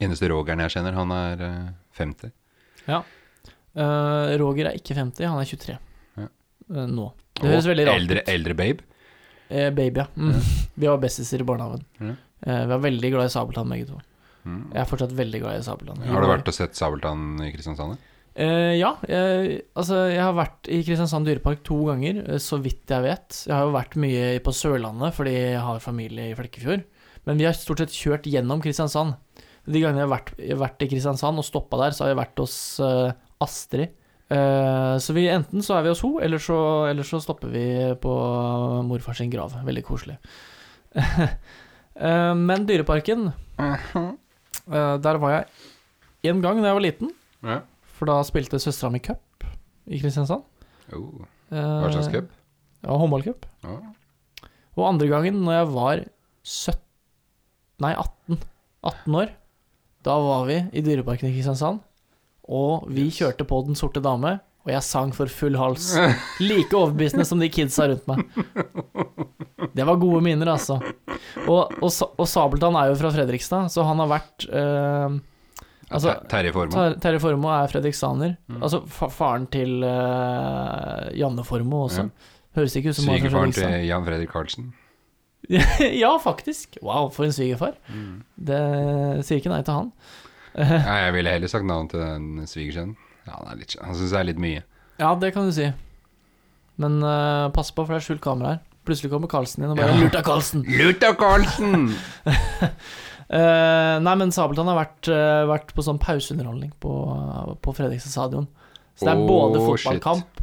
Speaker 2: Eneste Rogeren jeg kjenner, han er eh, 50.
Speaker 1: Eh, Roger er ikke 50, han er 23.
Speaker 2: Ja.
Speaker 1: Eh, nå. Det høres
Speaker 2: Åh,
Speaker 1: veldig rart
Speaker 2: eldre,
Speaker 1: ut.
Speaker 2: eldre babe.
Speaker 1: Eh, baby, ja. Mm. Vi var bestiser i barnehagen.
Speaker 2: Ja.
Speaker 1: Eh, vi er veldig glad i Sabeltann, begge to.
Speaker 2: Mm.
Speaker 1: Jeg er fortsatt veldig glad i Sabeltann.
Speaker 2: Har du vært og sett Sabeltann i Kristiansand? da?
Speaker 1: Eh, ja, jeg, altså jeg har vært i Kristiansand dyrepark to ganger, eh, så vidt jeg vet. Jeg har jo vært mye på Sørlandet fordi jeg har familie i Flekkefjord. Men vi har stort sett kjørt gjennom Kristiansand. De gangene jeg har vært, jeg har vært i Kristiansand og stoppa der, så har jeg vært hos eh, Astrid. Eh, så vi, enten så er vi hos henne, eller, så- eller så stopper vi på morfar sin grav. Veldig koselig. Eh, men Dyreparken, eh, der var jeg én gang da jeg var liten.
Speaker 2: Ja.
Speaker 1: For da spilte søstera mi cup i Kristiansand.
Speaker 2: Oh,
Speaker 1: Eh,
Speaker 2: hva slags cup?
Speaker 1: Ja, håndballcup.
Speaker 2: Åh.
Speaker 1: Og andre gangen, når jeg var 17 Nei, 18. 18 år. Da var vi i Dyreparken i Kristiansand, og vi kjørte på Den sorte dame, og jeg sang for full hals. Like overbevisende som de kidsa rundt meg. Det var gode minner, altså. Og, og, Sa- og Sabeltann er jo fra Fredrikstad, så han har vært eh, Altså,
Speaker 2: Ter- Terje Formoe.
Speaker 1: Ter Terje Formoe er fredrikstaner.
Speaker 2: Mm.
Speaker 1: Altså fa faren til eh, Janne Formoe også.
Speaker 2: Ja.
Speaker 1: Høres ikke ut som han er fra
Speaker 2: Svigerfaren til
Speaker 1: Fredrikstad.
Speaker 2: Jan Fredrik Karlsen.
Speaker 1: ja, faktisk. Wow, for en svigerfar.
Speaker 2: Mm.
Speaker 1: Det sier ikke nei til han.
Speaker 2: Ja, jeg ville heller sagt navn til den svigersønnen. Ja, han er litt- han syns det er litt mye.
Speaker 1: Ja, det kan du si. Men eh, pass på, for det er skjult kamera her. Plutselig kommer Karlsen inn og bare
Speaker 2: Ja.
Speaker 1: lurt av Karlsen.
Speaker 2: Luther Karlsen!
Speaker 1: Eh, nei, men Sabeltann har vært, eh, vært på sånn pauseunderholdning på, på Fredrikstad stadion. Så det er
Speaker 2: Åh,
Speaker 1: både
Speaker 2: shit.
Speaker 1: fotballkamp,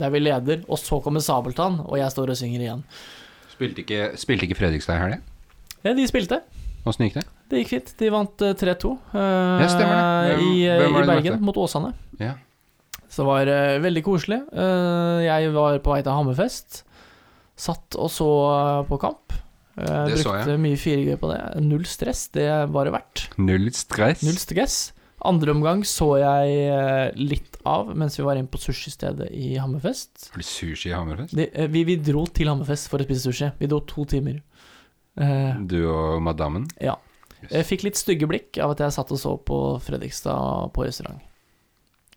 Speaker 1: der vi leder, og så kommer Sabeltann, og jeg står og synger igjen.
Speaker 2: Spilte ikke, spilte ikke Fredrikstad i helga?
Speaker 1: Ja, de spilte.
Speaker 2: Åssen gikk det?
Speaker 1: Det gikk fint. De vant eh, 3-2 eh,
Speaker 2: stemmer det.
Speaker 1: i,
Speaker 2: Hvem-
Speaker 1: eh,
Speaker 2: hvem var
Speaker 1: i
Speaker 2: det de
Speaker 1: Bergen
Speaker 2: møtte?
Speaker 1: mot Åsane.
Speaker 2: Ja.
Speaker 1: Så det var eh, veldig koselig. Eh, jeg var på vei til Hammerfest. Satt og så eh, på kamp. Eh,
Speaker 2: Det så
Speaker 1: brukte mye 4G på det. Null stress, det var det verdt.
Speaker 2: Null stress.
Speaker 1: Null stress. Andre omgang så jeg eh, litt av mens vi var inne på sushistedet i Hammerfest.
Speaker 2: Har du sushi i Hammerfest?
Speaker 1: De, eh, vi, vi dro til Hammerfest for å spise sushi. Vi dro to timer. Eh,
Speaker 2: Du og madammen?
Speaker 1: Ja.
Speaker 2: Yes.
Speaker 1: Jeg fikk litt stygge blikk av at jeg satt og så på Fredrikstad på restaurant.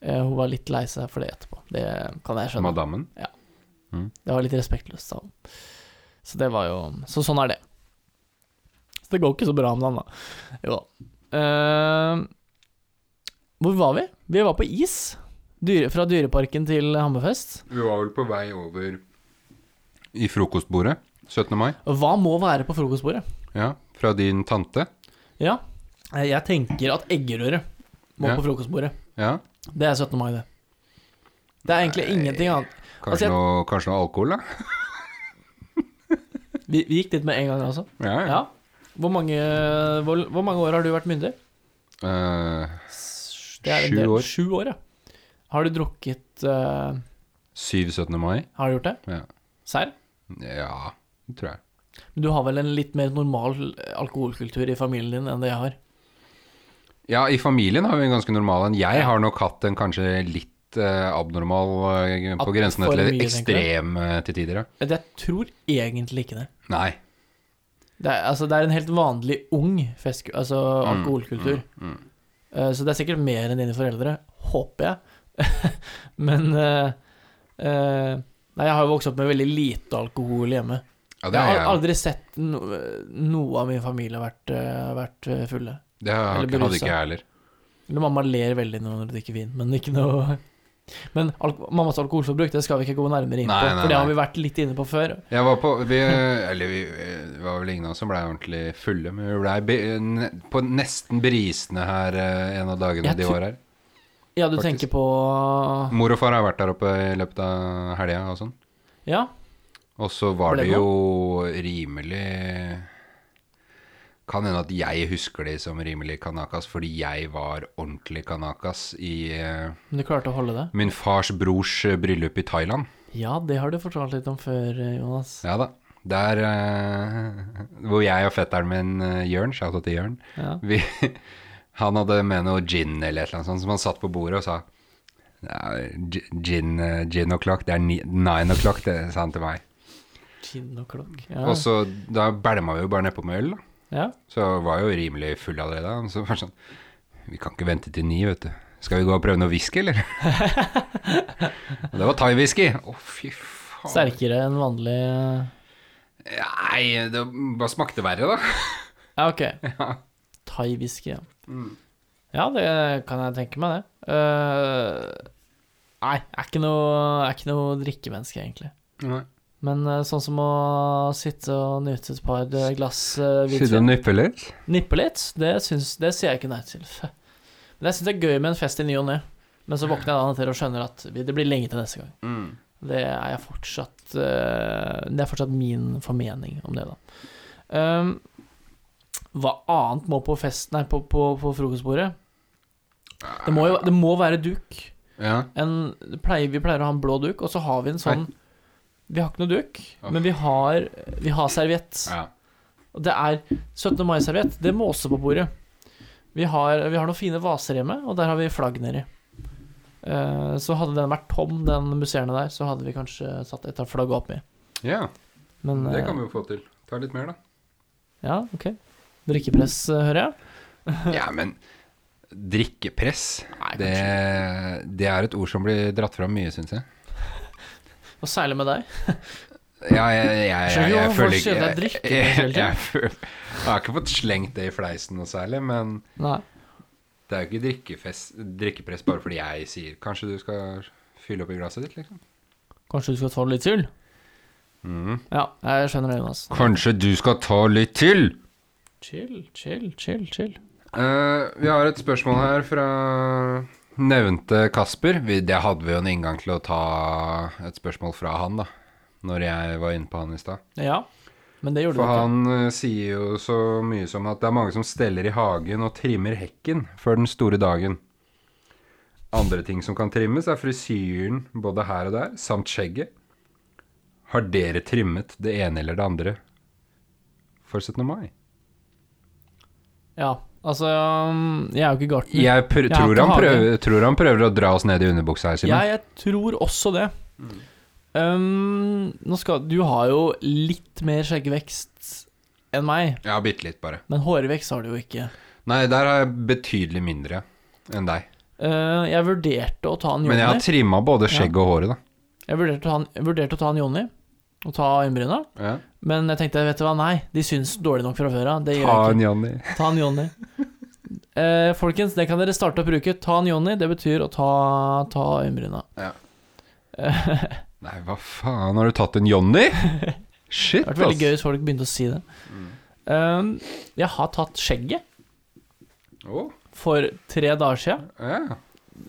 Speaker 1: Eh, Hun var litt lei seg for det etterpå. Det kan jeg skjønne.
Speaker 2: Madammen?
Speaker 1: Det var litt respektløst av henne. Så det var jo Så sånn er det. Så det går ikke så bra om dagen, da. Jo da. Eh, hvor var vi? Vi var på is. Dyre, fra Dyreparken til Hammerfest.
Speaker 2: Vi var vel på vei over I frokostbordet 17. mai.
Speaker 1: Hva må være på frokostbordet?
Speaker 2: Ja, fra din tante.
Speaker 1: Ja, eh, jeg tenker at eggerøre må
Speaker 2: Ja.
Speaker 1: på frokostbordet.
Speaker 2: Ja.
Speaker 1: Det er 17. mai, det. Det er egentlig ingenting annet. Altså,
Speaker 2: Kanskje,
Speaker 1: jeg-
Speaker 2: noe, kanskje noe alkohol, da?
Speaker 1: Vi, vi gikk dit med en gang, altså.
Speaker 2: Ja.
Speaker 1: Ja. Hvor mange, hvor, hvor mange år har du vært myndig?
Speaker 2: Eh,
Speaker 1: S- det er en
Speaker 2: Sju
Speaker 1: del-
Speaker 2: år.
Speaker 1: Sju år, ja. Har du drukket eh,
Speaker 2: 7. 17. mai.
Speaker 1: Har du gjort det?
Speaker 2: Ja.
Speaker 1: Serr?
Speaker 2: ja, det tror jeg.
Speaker 1: Men Du har vel en litt mer normal alkoholkultur i familien din enn det jeg har?
Speaker 2: Ja, i familien har vi en ganske normal en. Jeg har nok hatt en kanskje litt eh, abnormal eh,
Speaker 1: At-
Speaker 2: på grensen
Speaker 1: for
Speaker 2: til
Speaker 1: mye, tenker du?
Speaker 2: ekstrem eh, til tider, ja.
Speaker 1: Jeg tror egentlig ikke det.
Speaker 2: Nei.
Speaker 1: Det er, altså, det er en helt vanlig ung festku- altså,
Speaker 2: Mm,
Speaker 1: alkoholkultur.
Speaker 2: Mm, mm.
Speaker 1: Eh, så det er sikkert mer enn dine foreldre, håper jeg. Men eh, eh, Nei, jeg har jo vokst opp med veldig lite alkohol hjemme.
Speaker 2: Ja, det
Speaker 1: jeg
Speaker 2: har
Speaker 1: har
Speaker 2: jeg.
Speaker 1: aldri sett no, noe av min familie vært, eh, vært eh, fulle.
Speaker 2: Det har,
Speaker 1: Eller
Speaker 2: ikke- hadde
Speaker 1: berusa.
Speaker 2: ikke jeg heller.
Speaker 1: Eller mamma ler veldig når hun drikker vin, men ikke noe Men al mammas alkoholforbruk, det skal vi ikke gå nærmere inn på,
Speaker 2: Nei, nei,
Speaker 1: for det har
Speaker 2: nei.
Speaker 1: vi vært litt inne på før.
Speaker 2: Jeg var på vi, eh, Eller vi det var vel ingen av oss som blei ordentlig fulle, men vi blei be- ne- på nesten berisende her eh, en av dagene
Speaker 1: Jeg
Speaker 2: de
Speaker 1: tror-
Speaker 2: var her.
Speaker 1: Ja, du
Speaker 2: Faktisk.
Speaker 1: tenker på
Speaker 2: Mor og far har vært der oppe i løpet av helga og sånn.
Speaker 1: Ja,
Speaker 2: Og så var
Speaker 1: Ble
Speaker 2: det
Speaker 1: det
Speaker 2: jo rimelig Kan hende at jeg husker de som rimelig kanakas, fordi jeg var ordentlig kanakas i eh,
Speaker 1: men du klarte å holde det?
Speaker 2: min fars brors eh, bryllup i Thailand.
Speaker 1: Ja, det har du fortalt litt om før, eh, Jonas.
Speaker 2: Ja da. Der eh, hvor jeg og fetteren min, eh, Jørn, shout-out til Jørn
Speaker 1: Ja.
Speaker 2: vi, Han hadde med noe gin eller et eller annet sånt, som han satt på bordet og sa "Ja, gi- Gin, eh, gin o'clock, det er ni, nine o'clock, det sa han til meg.
Speaker 1: Gin og klokk. Ja.
Speaker 2: Og så da bælma vi jo bare nedpå med øl, da.
Speaker 1: ja.
Speaker 2: Så jeg var jo rimelig full allerede. Og så var det sånn Vi kan ikke vente til ni, vet du. Skal vi gå og prøve noe whisky, eller? og det var thai-whisky. Å, fy faen.
Speaker 1: Sterkere enn vanlig eh,
Speaker 2: Nei, det bare smakte verre, da.
Speaker 1: Ja, ok. Thai-whisky, ja.
Speaker 2: Mm.
Speaker 1: Ja, det kan jeg tenke meg, det. Eh, nei, jeg er ikke noe, jeg er ikke noe drikkemenneske, egentlig.
Speaker 2: Nei.
Speaker 1: Men eh, sånn som å sitte og nyte et par eh, glass eh,
Speaker 2: Sitte og
Speaker 1: hvitvin
Speaker 2: nippe litt?
Speaker 1: Nippe litt, det, syns, det sier jeg ikke nei til. Men jeg syns det er gøy med en fest i ny og ne. Men så våkner jeg da til og skjønner at vi- det blir lenge til neste gang.
Speaker 2: Mm.
Speaker 1: Det er jeg fortsatt eh, Det er fortsatt min formening om det, da. Ehm, hva annet må på fest Nei, på, på, på frokostbordet? Det må jo det må være duk.
Speaker 2: Ja.
Speaker 1: En, det pleier, vi pleier å ha en blå duk, og så har vi en sånn Vi har ikke noe duk,
Speaker 2: Ah.
Speaker 1: men vi har, vi har serviett.
Speaker 2: ja.
Speaker 1: Og det er 17. mai-serviett. Det må også på bordet. Vi har, vi har noen fine vaser hjemme, og der har vi flagg nedi. Eh, Så hadde den vært tom, den museerne der, så hadde vi kanskje satt et av flagga oppi.
Speaker 2: Ja,
Speaker 1: Men
Speaker 2: det
Speaker 1: eh,
Speaker 2: kan vi jo få til. Ta litt mer, da.
Speaker 1: Ja, ok. Drikkepress, eh, hører jeg.
Speaker 2: Ja, men drikkepress,
Speaker 1: Nei,
Speaker 2: det, det er et ord som blir dratt fram mye, syns jeg.
Speaker 1: Og særlig med deg.
Speaker 2: Ja, jeg, jeg, jeg,
Speaker 1: Skjønner
Speaker 2: jeg,
Speaker 1: du hvorfor
Speaker 2: føler
Speaker 1: folk
Speaker 2: ikke
Speaker 1: sier at
Speaker 2: jeg,
Speaker 1: det er drikke,
Speaker 2: jeg, jeg,
Speaker 1: kanskje, hele
Speaker 2: føl- jeg har ikke fått slengt det i fleisen noe særlig, men
Speaker 1: Nei.
Speaker 2: det er jo ikke drikkefest, drikkepress bare fordi jeg sier Kanskje du skal fylle opp i glasset ditt, liksom?
Speaker 1: Kanskje du skal ta litt til?
Speaker 2: Mhm.
Speaker 1: Ja, jeg skjønner det, Jonas.
Speaker 2: Kanskje du skal ta litt til?
Speaker 1: Chill, chill, chill, chill.
Speaker 2: Eh, vi har et spørsmål her fra nevnte Kasper. Vi, det hadde vi jo en inngang til å ta et spørsmål fra han, da. Når jeg var inne på han i stad.
Speaker 1: Ja, men det gjorde
Speaker 2: For
Speaker 1: du ikke.
Speaker 2: han eh, sier jo så mye som at det er mange som steller i hagen og trimmer hekken før den store dagen. Andre ting som kan trimmes, er frisyren både her og der, samt skjegget. Har dere trimmet det ene eller det andre for 17. mai?
Speaker 1: Mm. Ja, altså um, Jeg er jo ikke gartner.
Speaker 2: Jeg pr
Speaker 1: Jeg har
Speaker 2: tror,
Speaker 1: ikke
Speaker 2: han
Speaker 1: hage.
Speaker 2: prøver, tror han prøver å dra oss ned i underbuksa her, Simen.
Speaker 1: Jeg, jeg tror også det.
Speaker 2: Mm.
Speaker 1: Um, nå skal, du har jo litt mer skjeggvekst enn meg,
Speaker 2: Ja, bitte litt, bare.
Speaker 1: men hårvekst har du jo ikke.
Speaker 2: Nei, der har jeg betydelig mindre enn deg.
Speaker 1: Uh, jeg vurderte å ta en
Speaker 2: Men jeg har
Speaker 1: Jonny.
Speaker 2: trimma både skjegg og håret, da.
Speaker 1: Jeg vurderte, å ta en, jeg vurderte å ta en Jonny og ta øyenbryna,
Speaker 2: Ja.
Speaker 1: men jeg tenkte vet du hva, nei, de syns dårlig nok fra før av. Det gjør
Speaker 2: Ta
Speaker 1: jeg
Speaker 2: en
Speaker 1: ikke.
Speaker 2: Johnny.
Speaker 1: Ta en Jonny. Eh, folkens, det kan dere starte å bruke. Ta en Jonny. Det betyr å ta, ta øyenbryna.
Speaker 2: Ja. Nei, hva faen, har du tatt en Johnny? Shit,
Speaker 1: Det hadde vært veldig gøy
Speaker 2: ass.
Speaker 1: hvis folk begynte å si det. Um, jeg har tatt skjegget
Speaker 2: Å,
Speaker 1: for tre dager siden,
Speaker 2: ja.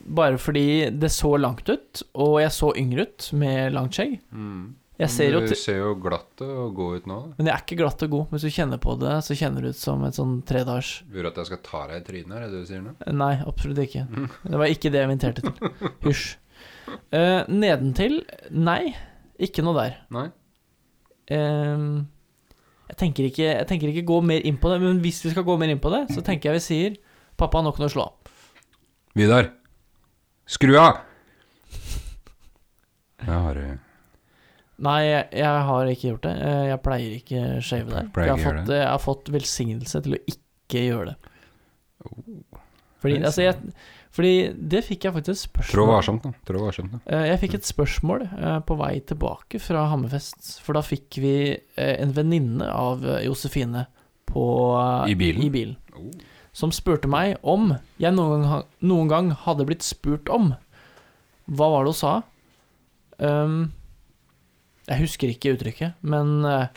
Speaker 1: bare fordi det så langt ut, og jeg så yngre ut med langt skjegg. Jeg ser jo
Speaker 2: Mm. Du
Speaker 1: til
Speaker 2: ser jo glatt og god ut nå. da.
Speaker 1: Men jeg er ikke glatt og god. Hvis du kjenner på det, så kjenner du ut som et sånn tredagers
Speaker 2: Lurer at jeg skal ta deg i trynet, er det det du sier nå?
Speaker 1: Nei, absolutt ikke. Det var ikke det jeg inviterte til. Hysj. Eh, nedentil nei, ikke noe der.
Speaker 2: Nei?
Speaker 1: Ehm, jeg, tenker ikke, jeg tenker ikke gå mer inn på det, men hvis vi skal gå mer inn på det, så tenker jeg vi sier Pappa, nå kan du slå av.
Speaker 2: Vidar, skru av! Ja, har du
Speaker 1: Nei, jeg, jeg har ikke gjort det. Eh, Jeg pleier ikke shave der. For
Speaker 2: Pleier
Speaker 1: jeg, har
Speaker 2: ikke gjøre
Speaker 1: fått, eh, jeg har fått velsignelse til å ikke gjøre det. Fordi,
Speaker 2: Oh. det er
Speaker 1: altså, jeg, fordi det fikk jeg faktisk et
Speaker 2: Trå
Speaker 1: spørsmål
Speaker 2: varsomt, da. Trå varsomt, da.
Speaker 1: Eh, Jeg fikk et spørsmål eh, på vei tilbake fra Hammerfest, for da fikk vi eh, en venninne av eh, Josefine på, eh,
Speaker 2: I bilen? Oh.
Speaker 1: Som spurte meg om jeg noen gang, ha- noen gang hadde blitt spurt om. Hva var det hun sa? Ehm, jeg husker ikke uttrykket, men eh,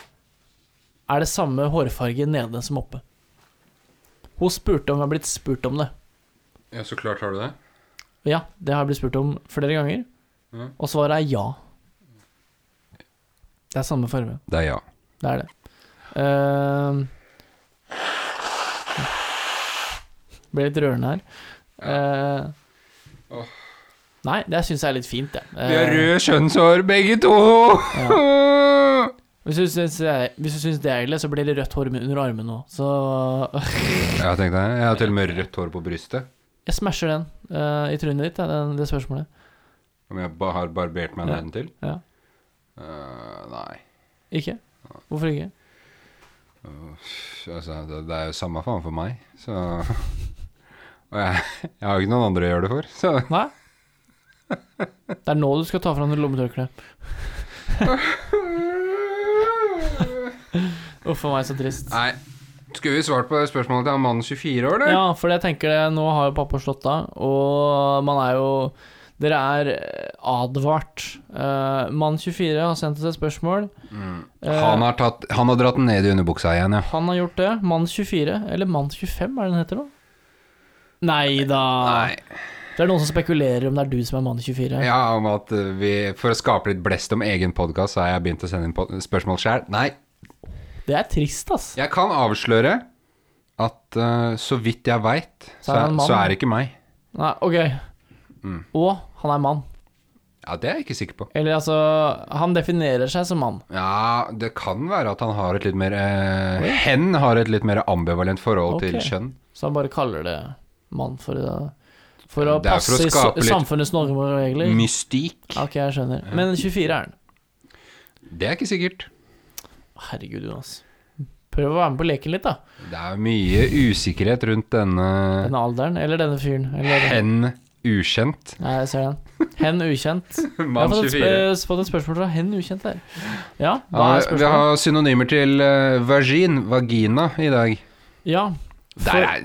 Speaker 1: er det samme hårfarge nede som oppe? Hun spurte om jeg har blitt spurt om det.
Speaker 2: Ja, så klart har du det.
Speaker 1: Ja, det har jeg blitt spurt om flere ganger,
Speaker 2: Mhm.
Speaker 1: og svaret er ja. Det er samme farge.
Speaker 2: Det er ja.
Speaker 1: Det er det. Ehm. ble litt rørende her. Eh,
Speaker 2: Åh.
Speaker 1: Nei, det syns jeg er litt fint, det.
Speaker 2: Vi har
Speaker 1: Eh,
Speaker 2: røde kjønnshår, begge to!
Speaker 1: hvis du syns hvis du syns det er ille, så blir det rødt hår under armen nå. Så
Speaker 2: Jeg har tenkt det. Jeg har til og med rødt hår på brystet.
Speaker 1: jeg smasher den eh, i trynet ditt, det, den, det spørsmålet.
Speaker 2: Om jeg ba har barbert meg
Speaker 1: Ja.
Speaker 2: nedentil?
Speaker 1: Ja.
Speaker 2: Eh, nei.
Speaker 1: Ikke? Hvorfor ikke?
Speaker 2: Altså, det, det er jo samme faen for meg, så Og jeg, jeg har jo ikke noen andre å gjøre det for, så
Speaker 1: Nei? Det er nå du skal ta fram det lommetørkleet. Uff a meg, så trist.
Speaker 2: Nei. Skulle vi svart på det spørsmålet til han mannen 24 år, eller?
Speaker 1: Ja, for jeg tenker det, nå har jo pappa slått av, og man er jo Dere er advart. Eh, mann 24 har sendt oss et spørsmål. Eh,
Speaker 2: Mm. Han, har tatt, han har dratt den ned i underbuksa igjen, ja.
Speaker 1: Han har gjort det. Mann 24, eller Mann 25, er det den heter nå? Nei da.
Speaker 2: Nei.
Speaker 1: Det er noen som spekulerer om det er du som er mann 24.
Speaker 2: Ja, om at eh, vi For å skape litt blest om egen podkast, så har jeg begynt å sende inn pod- spørsmål sjæl. Nei.
Speaker 1: Det er trist, ass.
Speaker 2: Jeg kan avsløre at eh, så vidt jeg veit,
Speaker 1: Så
Speaker 2: så,
Speaker 1: er han
Speaker 2: er-
Speaker 1: mann.
Speaker 2: så er det ikke meg.
Speaker 1: Nei, ok.
Speaker 2: Mm.
Speaker 1: Og han er mann.
Speaker 2: Ja, det er jeg ikke sikker på.
Speaker 1: Eller altså Han definerer seg som mann.
Speaker 2: Ja, det kan være at han har et litt mer eh, Hen har et litt mer ambivalent forhold
Speaker 1: Ok.
Speaker 2: til kjønn.
Speaker 1: Så han bare kaller det mann for det. For å
Speaker 2: Det er for
Speaker 1: passe
Speaker 2: å
Speaker 1: i so-
Speaker 2: skape litt
Speaker 1: samfunnets normer.
Speaker 2: Mystikk.
Speaker 1: Ok, jeg skjønner. Men 24 er den.
Speaker 2: Det er ikke sikkert.
Speaker 1: Herregud, Jonas. Prøv å være med på leken litt, da.
Speaker 2: Det er mye usikkerhet rundt denne
Speaker 1: Denne alderen, eller denne fyren. Eller
Speaker 2: hen ukjent.
Speaker 1: Nei, jeg ser den. Hen ukjent. Jeg har
Speaker 2: Mann
Speaker 1: fått et,
Speaker 2: 24.
Speaker 1: sp- eh, fått et spørsmål fra hen ukjent her. Ja, hva er
Speaker 2: Ja, vi
Speaker 1: spørsmålet?
Speaker 2: har synonymer til eh, vagin, vagina, i dag.
Speaker 1: Ja.
Speaker 2: Der
Speaker 1: For
Speaker 2: er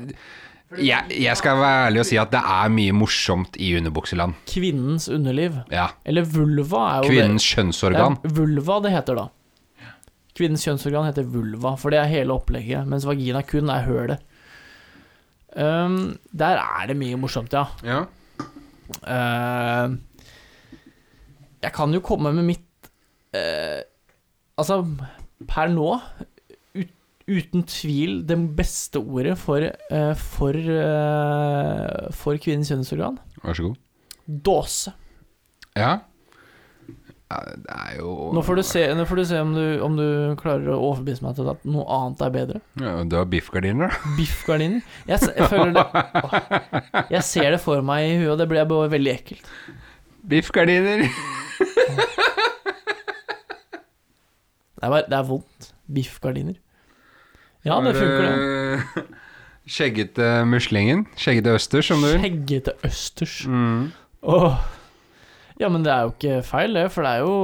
Speaker 2: jeg, jeg skal være ærlig og si at det er mye morsomt i underbukseland.
Speaker 1: kvinnens underliv.
Speaker 2: Ja.
Speaker 1: Eller vulva er jo
Speaker 2: Kvinnens
Speaker 1: det. det
Speaker 2: kjønnsorgan.
Speaker 1: er vulva det heter da. Kvinnens kjønnsorgan heter vulva, for det er hele opplegget, mens vagina kun er hølet. Um, der er det mye morsomt, ja.
Speaker 2: Ja.
Speaker 1: Eh, Jeg kan jo komme med mitt eh, Altså, per nå ut, Uten tvil det beste ordet for, eh, for, eh, for kvinnens kjønnsorgan.
Speaker 2: Vær så god.
Speaker 1: Dåse.
Speaker 2: Ja. ja det er jo
Speaker 1: Nå får du se, nå får du se om, du, om du klarer å overbevise meg til at noe annet er bedre.
Speaker 2: ja, Du har biffgardiner, da.
Speaker 1: Biffgardiner. Jeg, s- jeg føler det Åh. Jeg ser det for meg i huet, og det blir bare veldig ekkelt.
Speaker 2: Biffgardiner.
Speaker 1: Det er, bare, det er vondt. Biffgardiner. Ja, det funker, det.
Speaker 2: det. eh, Skjeggete muslingen. Skjeggete østers, som du vil.
Speaker 1: Skjeggete østers.
Speaker 2: Mm.
Speaker 1: Åh. Ja, men det er jo ikke feil, det, for det er jo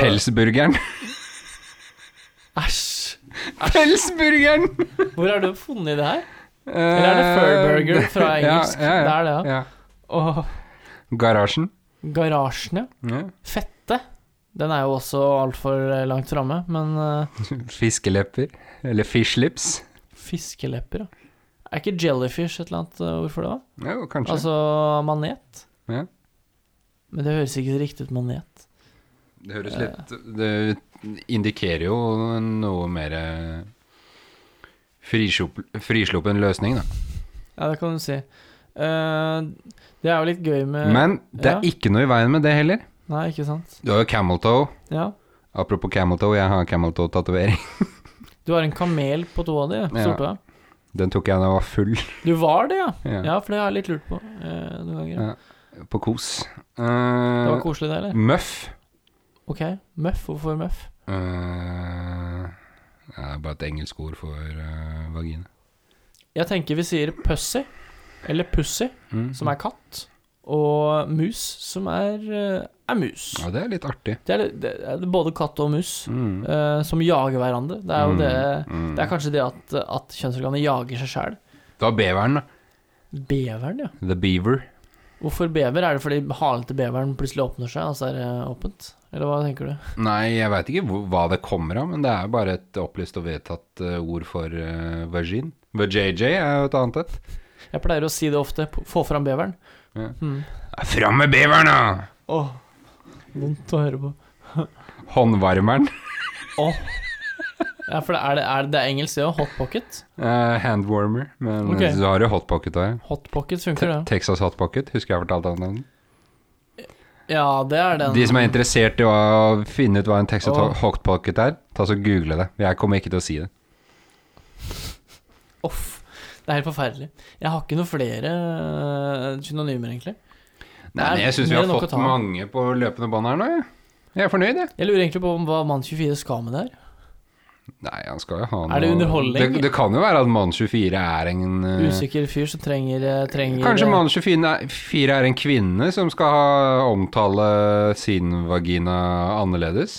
Speaker 2: Pelsburgeren.
Speaker 1: Æsj.
Speaker 2: Pelsburgeren! Eh,
Speaker 1: Hvor har du funnet det her? Eller er det Furburger fra engelsk?
Speaker 2: Ja,
Speaker 1: Det
Speaker 2: ja, ja.
Speaker 1: er det, ja.
Speaker 2: ja.
Speaker 1: Åh.
Speaker 2: Garasjen.
Speaker 1: Garasjen, ja.
Speaker 2: Ja.
Speaker 1: Fette. Den er jo også altfor langt framme, men eh,
Speaker 2: Fiskelepper. Eller fishlips.
Speaker 1: fiskelepper, ja. Er ikke jellyfish et eller annet eh, ord for det? da?
Speaker 2: Ja, kanskje.
Speaker 1: Altså manet?
Speaker 2: Ja.
Speaker 1: Men det høres ikke riktig ut, manet.
Speaker 2: det høres
Speaker 1: eh,
Speaker 2: litt Det indikerer jo noe mer eh, frislupp- frisluppen løsning, da.
Speaker 1: Ja, det kan du si. Eh, det er jo litt gøy med
Speaker 2: Men det er
Speaker 1: Eh, ja.
Speaker 2: ikke noe i veien med det heller.
Speaker 1: Nei, ikke sant?
Speaker 2: Du har jo camel toe.
Speaker 1: Ja.
Speaker 2: Apropos camel toe, jeg har camel toe-tatovering.
Speaker 1: Du har en kamel på tåa di,
Speaker 2: Ja.
Speaker 1: sorte.
Speaker 2: Den tok jeg da jeg var full.
Speaker 1: Du var det, ja?
Speaker 2: Ja.
Speaker 1: Ja, for det har jeg litt lurt på eh, noen ganger.
Speaker 2: Ja. På kos. Eh,
Speaker 1: Det var koselig, det, eller?
Speaker 2: Muff.
Speaker 1: OK, møff. Hvorfor møff?
Speaker 2: Eh, det er bare et engelsk ord for eh, vagina.
Speaker 1: Jeg tenker vi sier pussy, eller pussy,
Speaker 2: Mm.
Speaker 1: som er katt, og mus, som er, eh, er mus.
Speaker 2: Ja, det er litt artig.
Speaker 1: Det er, litt- det er både katt og mus
Speaker 2: Mm.
Speaker 1: eh, som jager hverandre. Det er jo det
Speaker 2: Mm.
Speaker 1: Det er kanskje det at, at kjønnsorganet jager seg sjæl.
Speaker 2: Det var beveren, da.
Speaker 1: Beveren, ja.
Speaker 2: The beaver.
Speaker 1: Hvorfor bever? Er det fordi halen til beveren plutselig åpner seg? Altså er det åpent? Eller hva tenker du?
Speaker 2: Nei, jeg veit ikke hvor- hva det kommer av, men det er bare et opplyst og vedtatt eh, ord for eh, vagin. VJJ er jo et annet et.
Speaker 1: Jeg pleier å si det ofte. p- Få fram beveren.
Speaker 2: Ja.
Speaker 1: Hmm.
Speaker 2: Ja, Fram med beveren, da!
Speaker 1: Åh, vondt å høre på.
Speaker 2: Håndvarmeren.
Speaker 1: Åh. Ja, for det er, det, er, det- det er engelsk, det òg. Hotpocket.
Speaker 2: Eh, handwarmer. Men
Speaker 1: Ok.
Speaker 2: så har du hotpocket òg.
Speaker 1: Hotpocket funker, det.
Speaker 2: Texas hotpocket. Husker jeg fortalte om den?
Speaker 1: Ja, det er den.
Speaker 2: De som er interessert i å finne ut hva en Texas
Speaker 1: Åh.
Speaker 2: hotpocket er, ta så google det. Jeg kommer ikke til å si det.
Speaker 1: Off. Det er helt forferdelig. Jeg har ikke noen flere øh, synonymer, egentlig.
Speaker 2: Nei, men jeg syns vi
Speaker 1: mer
Speaker 2: har
Speaker 1: enn nok å
Speaker 2: fått
Speaker 1: ta.
Speaker 2: mange på løpende bånd her nå, jeg. Jeg er fornøyd, jeg.
Speaker 1: Jeg lurer egentlig på hva Mann24 skal med det her.
Speaker 2: Nei, han skal jo ha noe
Speaker 1: Er det underholdning?
Speaker 2: Det, det kan jo være at Mann 24 er en eh,
Speaker 1: Usikker fyr som trenger, eh, trenger
Speaker 2: Kanskje mann 24 er- 24 er en kvinne som skal ha, omtale sin vagina annerledes?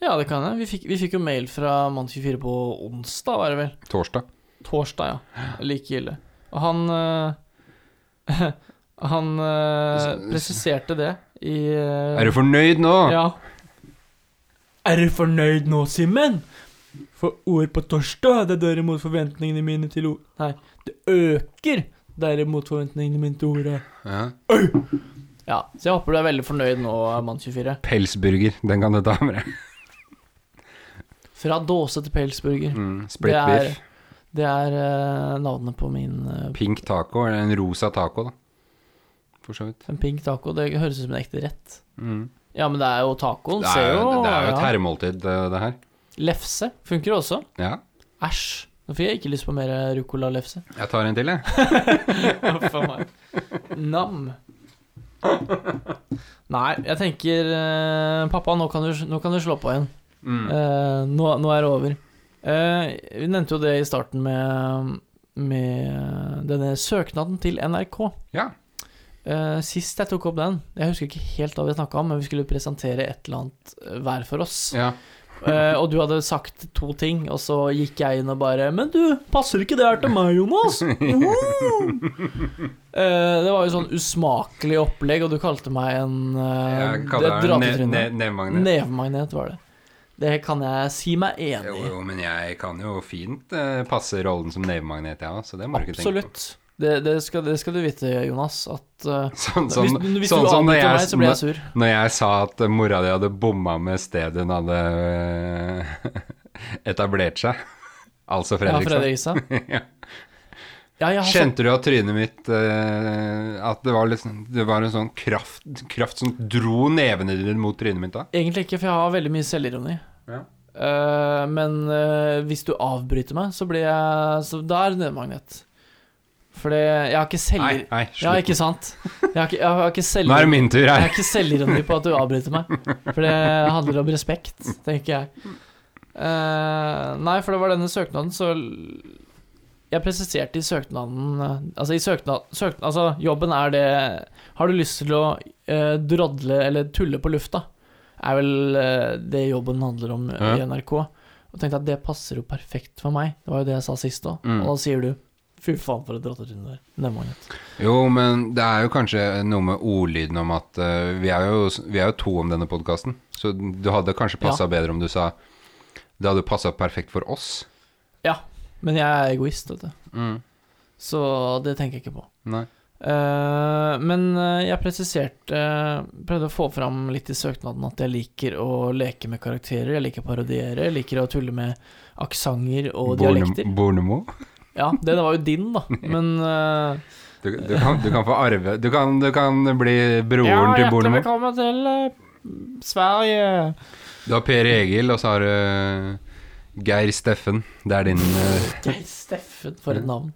Speaker 1: Ja, det kan jeg. Vi fikk, vi fikk jo mail fra Mann24 på onsdag, var det vel?
Speaker 2: Torsdag.
Speaker 1: Torsdag, ja. Like ille. Og han eh, Han eh, presiserte det i eh,
Speaker 2: Er du fornøyd nå?
Speaker 1: Ja. Er du fornøyd nå, Simen? For ord på torsdag, det er derimot forventningene mine til ord... Nei, det øker derimot forventningene mine til ordet.
Speaker 2: Ja.
Speaker 1: Ja, så jeg håper du er veldig fornøyd nå, Mann24.
Speaker 2: Pelsburger, den kan du ta med deg.
Speaker 1: Fra dåse til pelsburger.
Speaker 2: Mm, split
Speaker 1: Det er-
Speaker 2: beef.
Speaker 1: Det er eh, navnet på min eh,
Speaker 2: Pink taco, eller en rosa taco, da. For så vidt.
Speaker 1: En pink taco, det høres ut som en ekte rett.
Speaker 2: Mm.
Speaker 1: Ja, men det er jo tacoen,
Speaker 2: Det,
Speaker 1: ser
Speaker 2: er,
Speaker 1: jo.
Speaker 2: jo- det er jo et
Speaker 1: ja.
Speaker 2: herremåltid, det, det her.
Speaker 1: Lefse funker jo også.
Speaker 2: Ja.
Speaker 1: Æsj. Nå fikk jeg ikke lyst på mer ruccola-lefse.
Speaker 2: Jeg tar en til, jeg.
Speaker 1: Huff a meg. Nam. Nei, jeg tenker eh, Pappa, nå kan, du, nå kan du slå på igjen.
Speaker 2: Mm.
Speaker 1: Eh, nå, nå er det over. Eh, vi nevnte jo det i starten med, med denne søknaden til NRK.
Speaker 2: Ja.
Speaker 1: Eh, sist jeg tok opp den Jeg husker ikke helt hva vi snakka om, men vi skulle presentere et eller annet eh, hver for oss.
Speaker 2: ja.
Speaker 1: Eh, og du hadde sagt to ting, og så gikk jeg inn og bare Men du, passer ikke det her til meg, Jonas? Woo! Eh, det var jo sånn usmakelig opplegg, og du kalte meg en uh,
Speaker 2: Jeg kaller det ne ne nevmagnet.
Speaker 1: Nevemagnet var det. Det kan jeg si meg enig
Speaker 2: Jo,
Speaker 1: i.
Speaker 2: jo, men jeg kan jo fint eh, passe rollen som nevemagnet, jeg ja, òg, så det må du ikke tenke på.
Speaker 1: Absolutt. Det, det, skal, det skal du vite, Jonas, at eh,
Speaker 2: Sånn,
Speaker 1: hvis,
Speaker 2: sånn,
Speaker 1: hvis
Speaker 2: sånn
Speaker 1: du
Speaker 2: som når
Speaker 1: avbryter meg, så blir
Speaker 2: jeg,
Speaker 1: jeg sur.
Speaker 2: når jeg sa at mora di hadde bomma med stedet hun hadde øh, etablert seg. Altså
Speaker 1: Ja,
Speaker 2: Fredrikstad.
Speaker 1: Fredrikstad.
Speaker 2: Ja.
Speaker 1: Ja, jeg har sånn-
Speaker 2: Kjente du av trynet mitt øh, at det var, litt, sånn- det var en sånn kraft, kraft som dro nevene dine mot trynet mitt da?
Speaker 1: Egentlig ikke, for jeg har veldig mye selvironi.
Speaker 2: Ja.
Speaker 1: Eh, men eh, hvis du avbryter meg, så blir jeg Så da er det nevemagnet. Fordi jeg har ikke
Speaker 2: Nei,
Speaker 1: selvironi
Speaker 2: nei,
Speaker 1: Ja,
Speaker 2: slutt.
Speaker 1: ikke sant? Jeg har ikke, jeg har ikke
Speaker 2: Nå er det
Speaker 1: selvironi
Speaker 2: min tur
Speaker 1: Jeg
Speaker 2: her.
Speaker 1: har ikke selvironi på at du avbryter meg. For det handler om respekt, tenker jeg. Eh, nei, for det var denne søknaden, så l- Jeg presiserte i søknaden eh, Altså, i søknad, søkn- altså jobben er det Har du lyst til å eh, drodle eller tulle på lufta? Er vel eh, det jobben handler om eh, i
Speaker 2: Ja.
Speaker 1: NRK. Og tenkte at det passer jo perfekt for meg. Det var jo det jeg sa sist òg.
Speaker 2: Mm.
Speaker 1: Og da sier du Fy faen, for et rottetryne der. Nemlig.
Speaker 2: Jo, men det er jo kanskje noe med ordlyden om at eh, vi, er jo, vi er jo to om denne podkasten, så du hadde kanskje passa bedre om du sa Det hadde passa perfekt for oss.
Speaker 1: Men jeg er egoist, vet du.
Speaker 2: Mm.
Speaker 1: Så det tenker jeg ikke på.
Speaker 2: Nei.
Speaker 1: Eh, men eh, jeg presiserte eh, Prøvde å få fram litt i søknaden at jeg liker å leke med karakterer. Jeg liker å parodiere, jeg liker å tulle med aksenter og
Speaker 2: Borne-
Speaker 1: dialekter.
Speaker 2: Bornemo?
Speaker 1: Ja, det var jo din, da, men eh,
Speaker 2: Du, du, kan, du kan få arve Du kan, du kan bli broren
Speaker 1: Ja,
Speaker 2: til
Speaker 1: hjertelig
Speaker 2: Bornemo.
Speaker 1: velkommen til eh, Sverige.
Speaker 2: Du har Per Egil, og så har du eh, Geir Steffen. Det er din eh,
Speaker 1: Geir Steffen, for et navn.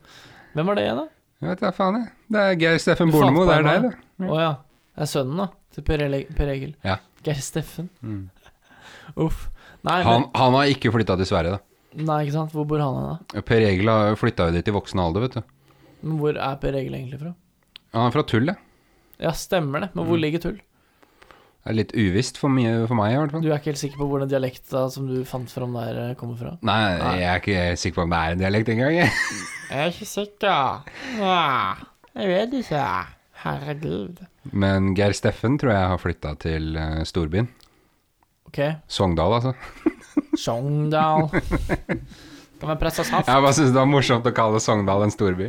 Speaker 1: Hvem var det igjen, da?
Speaker 2: Jeg vet da faen, jeg. Det er Geir Steffen
Speaker 1: Du fant
Speaker 2: Bornemo.
Speaker 1: på
Speaker 2: Det
Speaker 1: en
Speaker 2: er deg,
Speaker 1: nå.
Speaker 2: det.
Speaker 1: Å ja. Det er sønnen, da. Til Per, Ele per Egil.
Speaker 2: Ja.
Speaker 1: Geir Steffen.
Speaker 2: Mm.
Speaker 1: Uff. Nei,
Speaker 2: Han, han har ikke flytta til Sverige, da.
Speaker 1: men, nei, ikke sant. Hvor bor han hen, da?
Speaker 2: Per Egil flytta jo dit i voksen alder, vet du.
Speaker 1: Men hvor er Per Egil egentlig fra?
Speaker 2: Han er fra Tullet.
Speaker 1: Ja, stemmer det. Men hvor ligger Tull?
Speaker 2: Det er litt uvisst for, mye, for meg, i hvert fall.
Speaker 1: Du er ikke helt sikker på hvor den dialekta som du fant fram der, eh, kommer fra?
Speaker 2: Nei, jeg er ikke sikker på om det er en dialekt engang. jeg.
Speaker 1: Jeg er ikke sikker. Ja, jeg vet ikke. Herregud.
Speaker 2: Men Geir Steffen tror jeg har flytta til eh, storbyen.
Speaker 1: OK.
Speaker 2: Sogndal, altså.
Speaker 1: Sogndal. Kan være pressa saft.
Speaker 2: Jeg bare syns det var morsomt å kalle Sogndal en storby.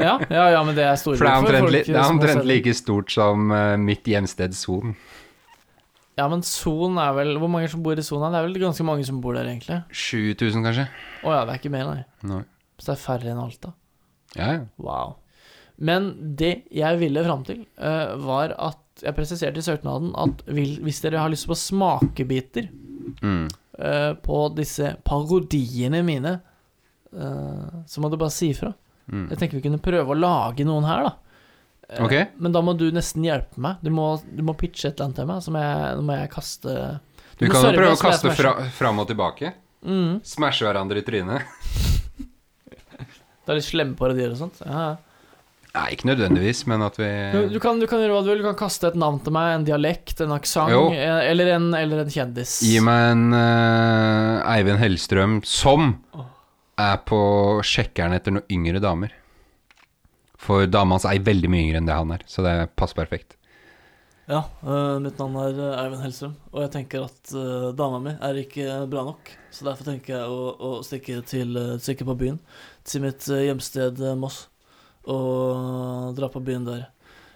Speaker 1: Ja, ja, ja, men det er storby
Speaker 2: For det er omtrent, li, det er
Speaker 1: som har
Speaker 2: omtrent
Speaker 1: selv-
Speaker 2: like stort som eh, mitt hjemsted Son.
Speaker 1: Ja, men Son er vel Hvor mange som bor i Son? her? Det er vel ganske mange som bor der, egentlig.
Speaker 2: 7000, kanskje?
Speaker 1: Å ja, det er ikke mer, nei.
Speaker 2: Nei.
Speaker 1: Så det er færre enn Alta.
Speaker 2: Ja, ja.
Speaker 1: Wow. Men det jeg ville fram til, eh, var at jeg presiserte i søknaden at vil, hvis dere har lyst på smakebiter
Speaker 2: Mm.
Speaker 1: eh, på disse parodiene mine, eh, så må du bare si ifra.
Speaker 2: Mm.
Speaker 1: Jeg tenker vi kunne prøve å lage noen her, da. Eh,
Speaker 2: Ok.
Speaker 1: Men da må du nesten hjelpe meg. Du må, du må pitche et eller annet til meg, så må jeg, nå må jeg kaste
Speaker 2: Du
Speaker 1: må
Speaker 2: kan jo
Speaker 1: serve
Speaker 2: prøve å
Speaker 1: oss med
Speaker 2: kaste
Speaker 1: smash.
Speaker 2: fra, fram og tilbake.
Speaker 1: mm.
Speaker 2: Smashe hverandre i trynet.
Speaker 1: Det er litt slemme parodier og sånt. Ja. ja.
Speaker 2: Nei, ikke nødvendigvis, men at vi
Speaker 1: Du, du, kan, du kan gjøre hva du vil. Du kan kaste et navn til meg, en dialekt, en aksent, eh,
Speaker 2: Jo.
Speaker 1: eller, en- eller en kjendis.
Speaker 2: Gi meg en eh, Eivind Hellstrøm som er på sjekkeren etter noen yngre damer. For dama hans er veldig mye yngre enn det han er, så det passer perfekt.
Speaker 1: Ja, eh, mitt navn er eh, Eivind Hellstrøm, og jeg tenker at eh, dama mi er ikke bra nok. Så derfor tenker jeg å, å stikke, til, eh, stikke på byen, til mitt eh, hjemsted eh, Moss, og dra på byen der.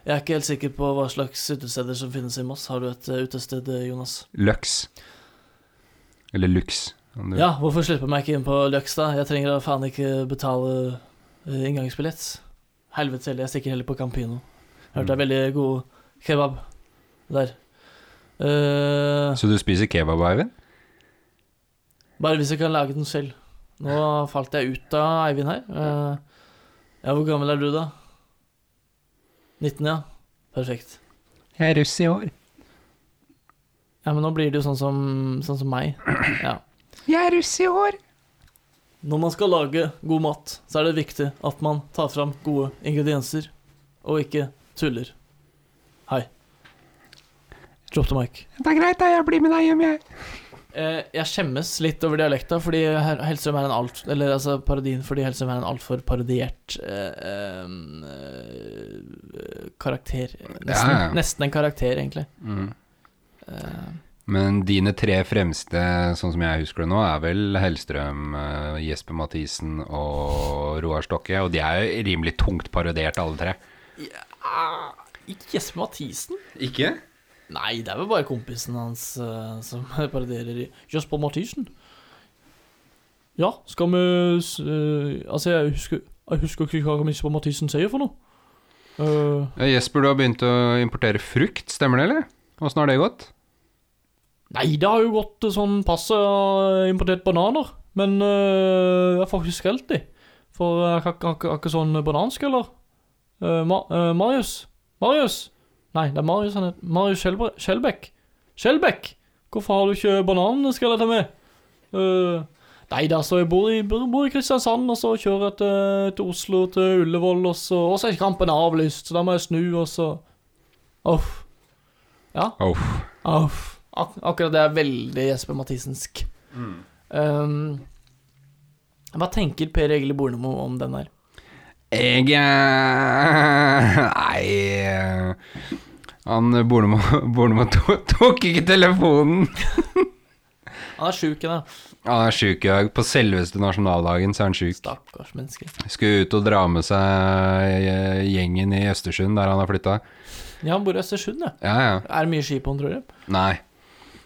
Speaker 1: Jeg er ikke helt sikker på hva slags utesteder som finnes i Moss. Har du et eh, utested, eh, Jonas?
Speaker 2: Lux. Eller Lux. om du-
Speaker 1: Ja, hvorfor slipper meg ikke inn på Løks, da? Jeg trenger da faen ikke betale eh, inngangsbillett. Helvete heller, jeg stikker heller på Campino. Hørte det er veldig god kebab der. Eh,
Speaker 2: Så du spiser kebab, Eivind?
Speaker 1: bare hvis jeg kan lage den selv. Nå falt jeg ut av Eivind her. Eh, ja, hvor gammel er du, da? 19, ja. Perfekt.
Speaker 2: Jeg er russ i år.
Speaker 1: Ja, men nå blir det jo sånn som, sånn som meg. Ja.
Speaker 2: Jeg er russ i år.
Speaker 1: Når man skal lage god mat, så er det viktig at man tar fram gode ingredienser, og ikke tuller. Hei. Drop the mic.
Speaker 2: Det er greit, da. Jeg blir med deg hjem, jeg.
Speaker 1: Eh, jeg skjemmes litt over dialekta, fordi her- Hellstrøm er en alt... Eller altså parodien fordi Hellstrøm er en altfor parodiert eh, em, eh, karakter. Nesten,
Speaker 2: Ja, ja.
Speaker 1: nesten en karakter, egentlig.
Speaker 2: Mm.
Speaker 1: Eh,
Speaker 2: Men dine tre fremste, sånn som jeg husker det nå, er vel Hellstrøm, eh, Jesper Mathisen og Roar Stokke. Og de er jo rimelig tungt parodiert, alle tre.
Speaker 1: ah, ikke Jesper Mathisen?
Speaker 2: Ikke?
Speaker 1: Nei, det er vel bare kompisen hans eh, som parodierer i Jesper Mathisen. Ja, skal vi s- eh, Altså, jeg husker, jeg husker ikke hva Jesper Mathisen sier for noe. Eh,
Speaker 2: Ja, Jesper, du har begynt å importere frukt, stemmer det, eller? Åssen har det gått?
Speaker 1: nei, det har jo gått eh, sånn passe eh, importert bananer. Men eh, jeg får ikke skrelt de. For eh, jeg har ikke- har ikke- har ikke sånn bananskreller. Eh, Ma eh, Marius? Marius? Nei, det er Marius han heter. Marius Skjelbre- Skjelbekk. Skjelbekk! Hvorfor har du ikke bananskreller til meg? Eh, nei da, så jeg bor i, bor bor i Kristiansand, og så kjører jeg til, til Oslo, til Ullevål, og så, og så er kampen avlyst, så da må jeg snu, og så Uff. Ja.
Speaker 2: Uff.
Speaker 1: Uff. Ak akkurat det er veldig Jesper Mathisensk.
Speaker 2: Mm.
Speaker 1: Um, hva tenker Per Egil Bornemo om den her?
Speaker 2: Jeg eh, Nei eh, Han eh, Bornemo Bornemo to- tok ikke telefonen.
Speaker 1: Han er sjuk i det.
Speaker 2: Han er sjuk i dag. På selveste nasjonaldagen så er han sjuk.
Speaker 1: Stakkars menneske.
Speaker 2: Skulle ut og dra med seg eh, gjengen i Østersund, der han har flytta.
Speaker 1: Ja, han bor i Østersund, ja.
Speaker 2: Ja, ja.
Speaker 1: Er det mye ski på han, tror du?
Speaker 2: Nei.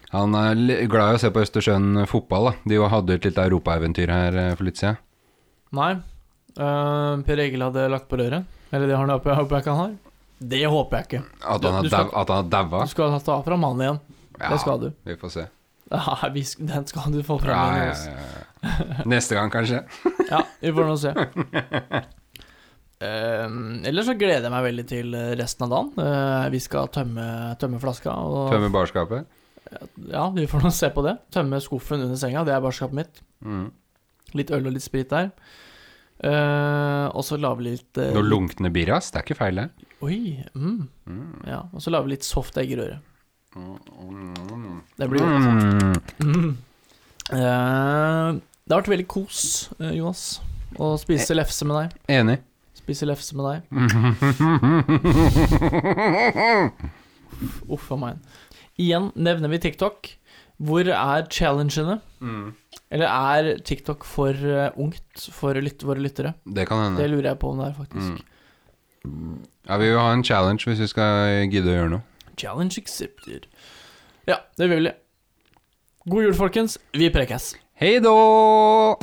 Speaker 2: Han er li- glad i å se på Østersund fotball, da. De jo hadde et lite europaeventyr her eh, for litt siden.
Speaker 1: Nei. Uh, per Egil hadde lagt på røret. Eller det har han håper jeg, håper jeg ikke han har. Det håper jeg ikke.
Speaker 2: At
Speaker 1: Du- du
Speaker 2: han har
Speaker 1: skal-
Speaker 2: dau- at han har daua.
Speaker 1: Du skal ta fram han igjen.
Speaker 2: Ja,
Speaker 1: Det skal du.
Speaker 2: vi får se.
Speaker 1: Ja, vi sk- den skal du få fram
Speaker 2: Ja,
Speaker 1: igjen.
Speaker 2: ja,
Speaker 1: altså.
Speaker 2: ja. Neste gang, kanskje.
Speaker 1: Ja, vi får nå se. Ehm, ellers så gleder jeg meg veldig til resten av dagen. Eh, vi skal tømme, tømme flaska. Og,
Speaker 2: Tømme barskapet.
Speaker 1: Ja, vi får nå se på det. Tømme skuffen under senga, det er barskapet mitt.
Speaker 2: Mm.
Speaker 1: Litt øl og litt sprit der. Eh, og så lager vi litt eh,
Speaker 2: Noe lunkne birras, det er ikke feil, det.
Speaker 1: Oi, mm,
Speaker 2: Mm.
Speaker 1: ja, Og så lager vi litt soft eggerøre.
Speaker 2: Mm.
Speaker 1: Det blir godt. Mm. Eh, det har vært veldig kos, eh, Jonas, å
Speaker 2: Eh.
Speaker 1: spise lefse med deg.
Speaker 2: Enig.
Speaker 1: Spise lefse med deg. Uff a meg. Igjen nevner vi TikTok. Hvor er challengene?
Speaker 2: Mm.
Speaker 1: Eller er TikTok for eh, ungt for lyt våre lyttere?
Speaker 2: Det kan hende.
Speaker 1: Det lurer jeg på om det er, faktisk.
Speaker 2: Ja, vi vil ha en challenge hvis vi skal gidde å gjøre noe.
Speaker 1: Challenge accepted. Ja, det vil vi. God jul, folkens. Vi prekes.
Speaker 2: Hei då!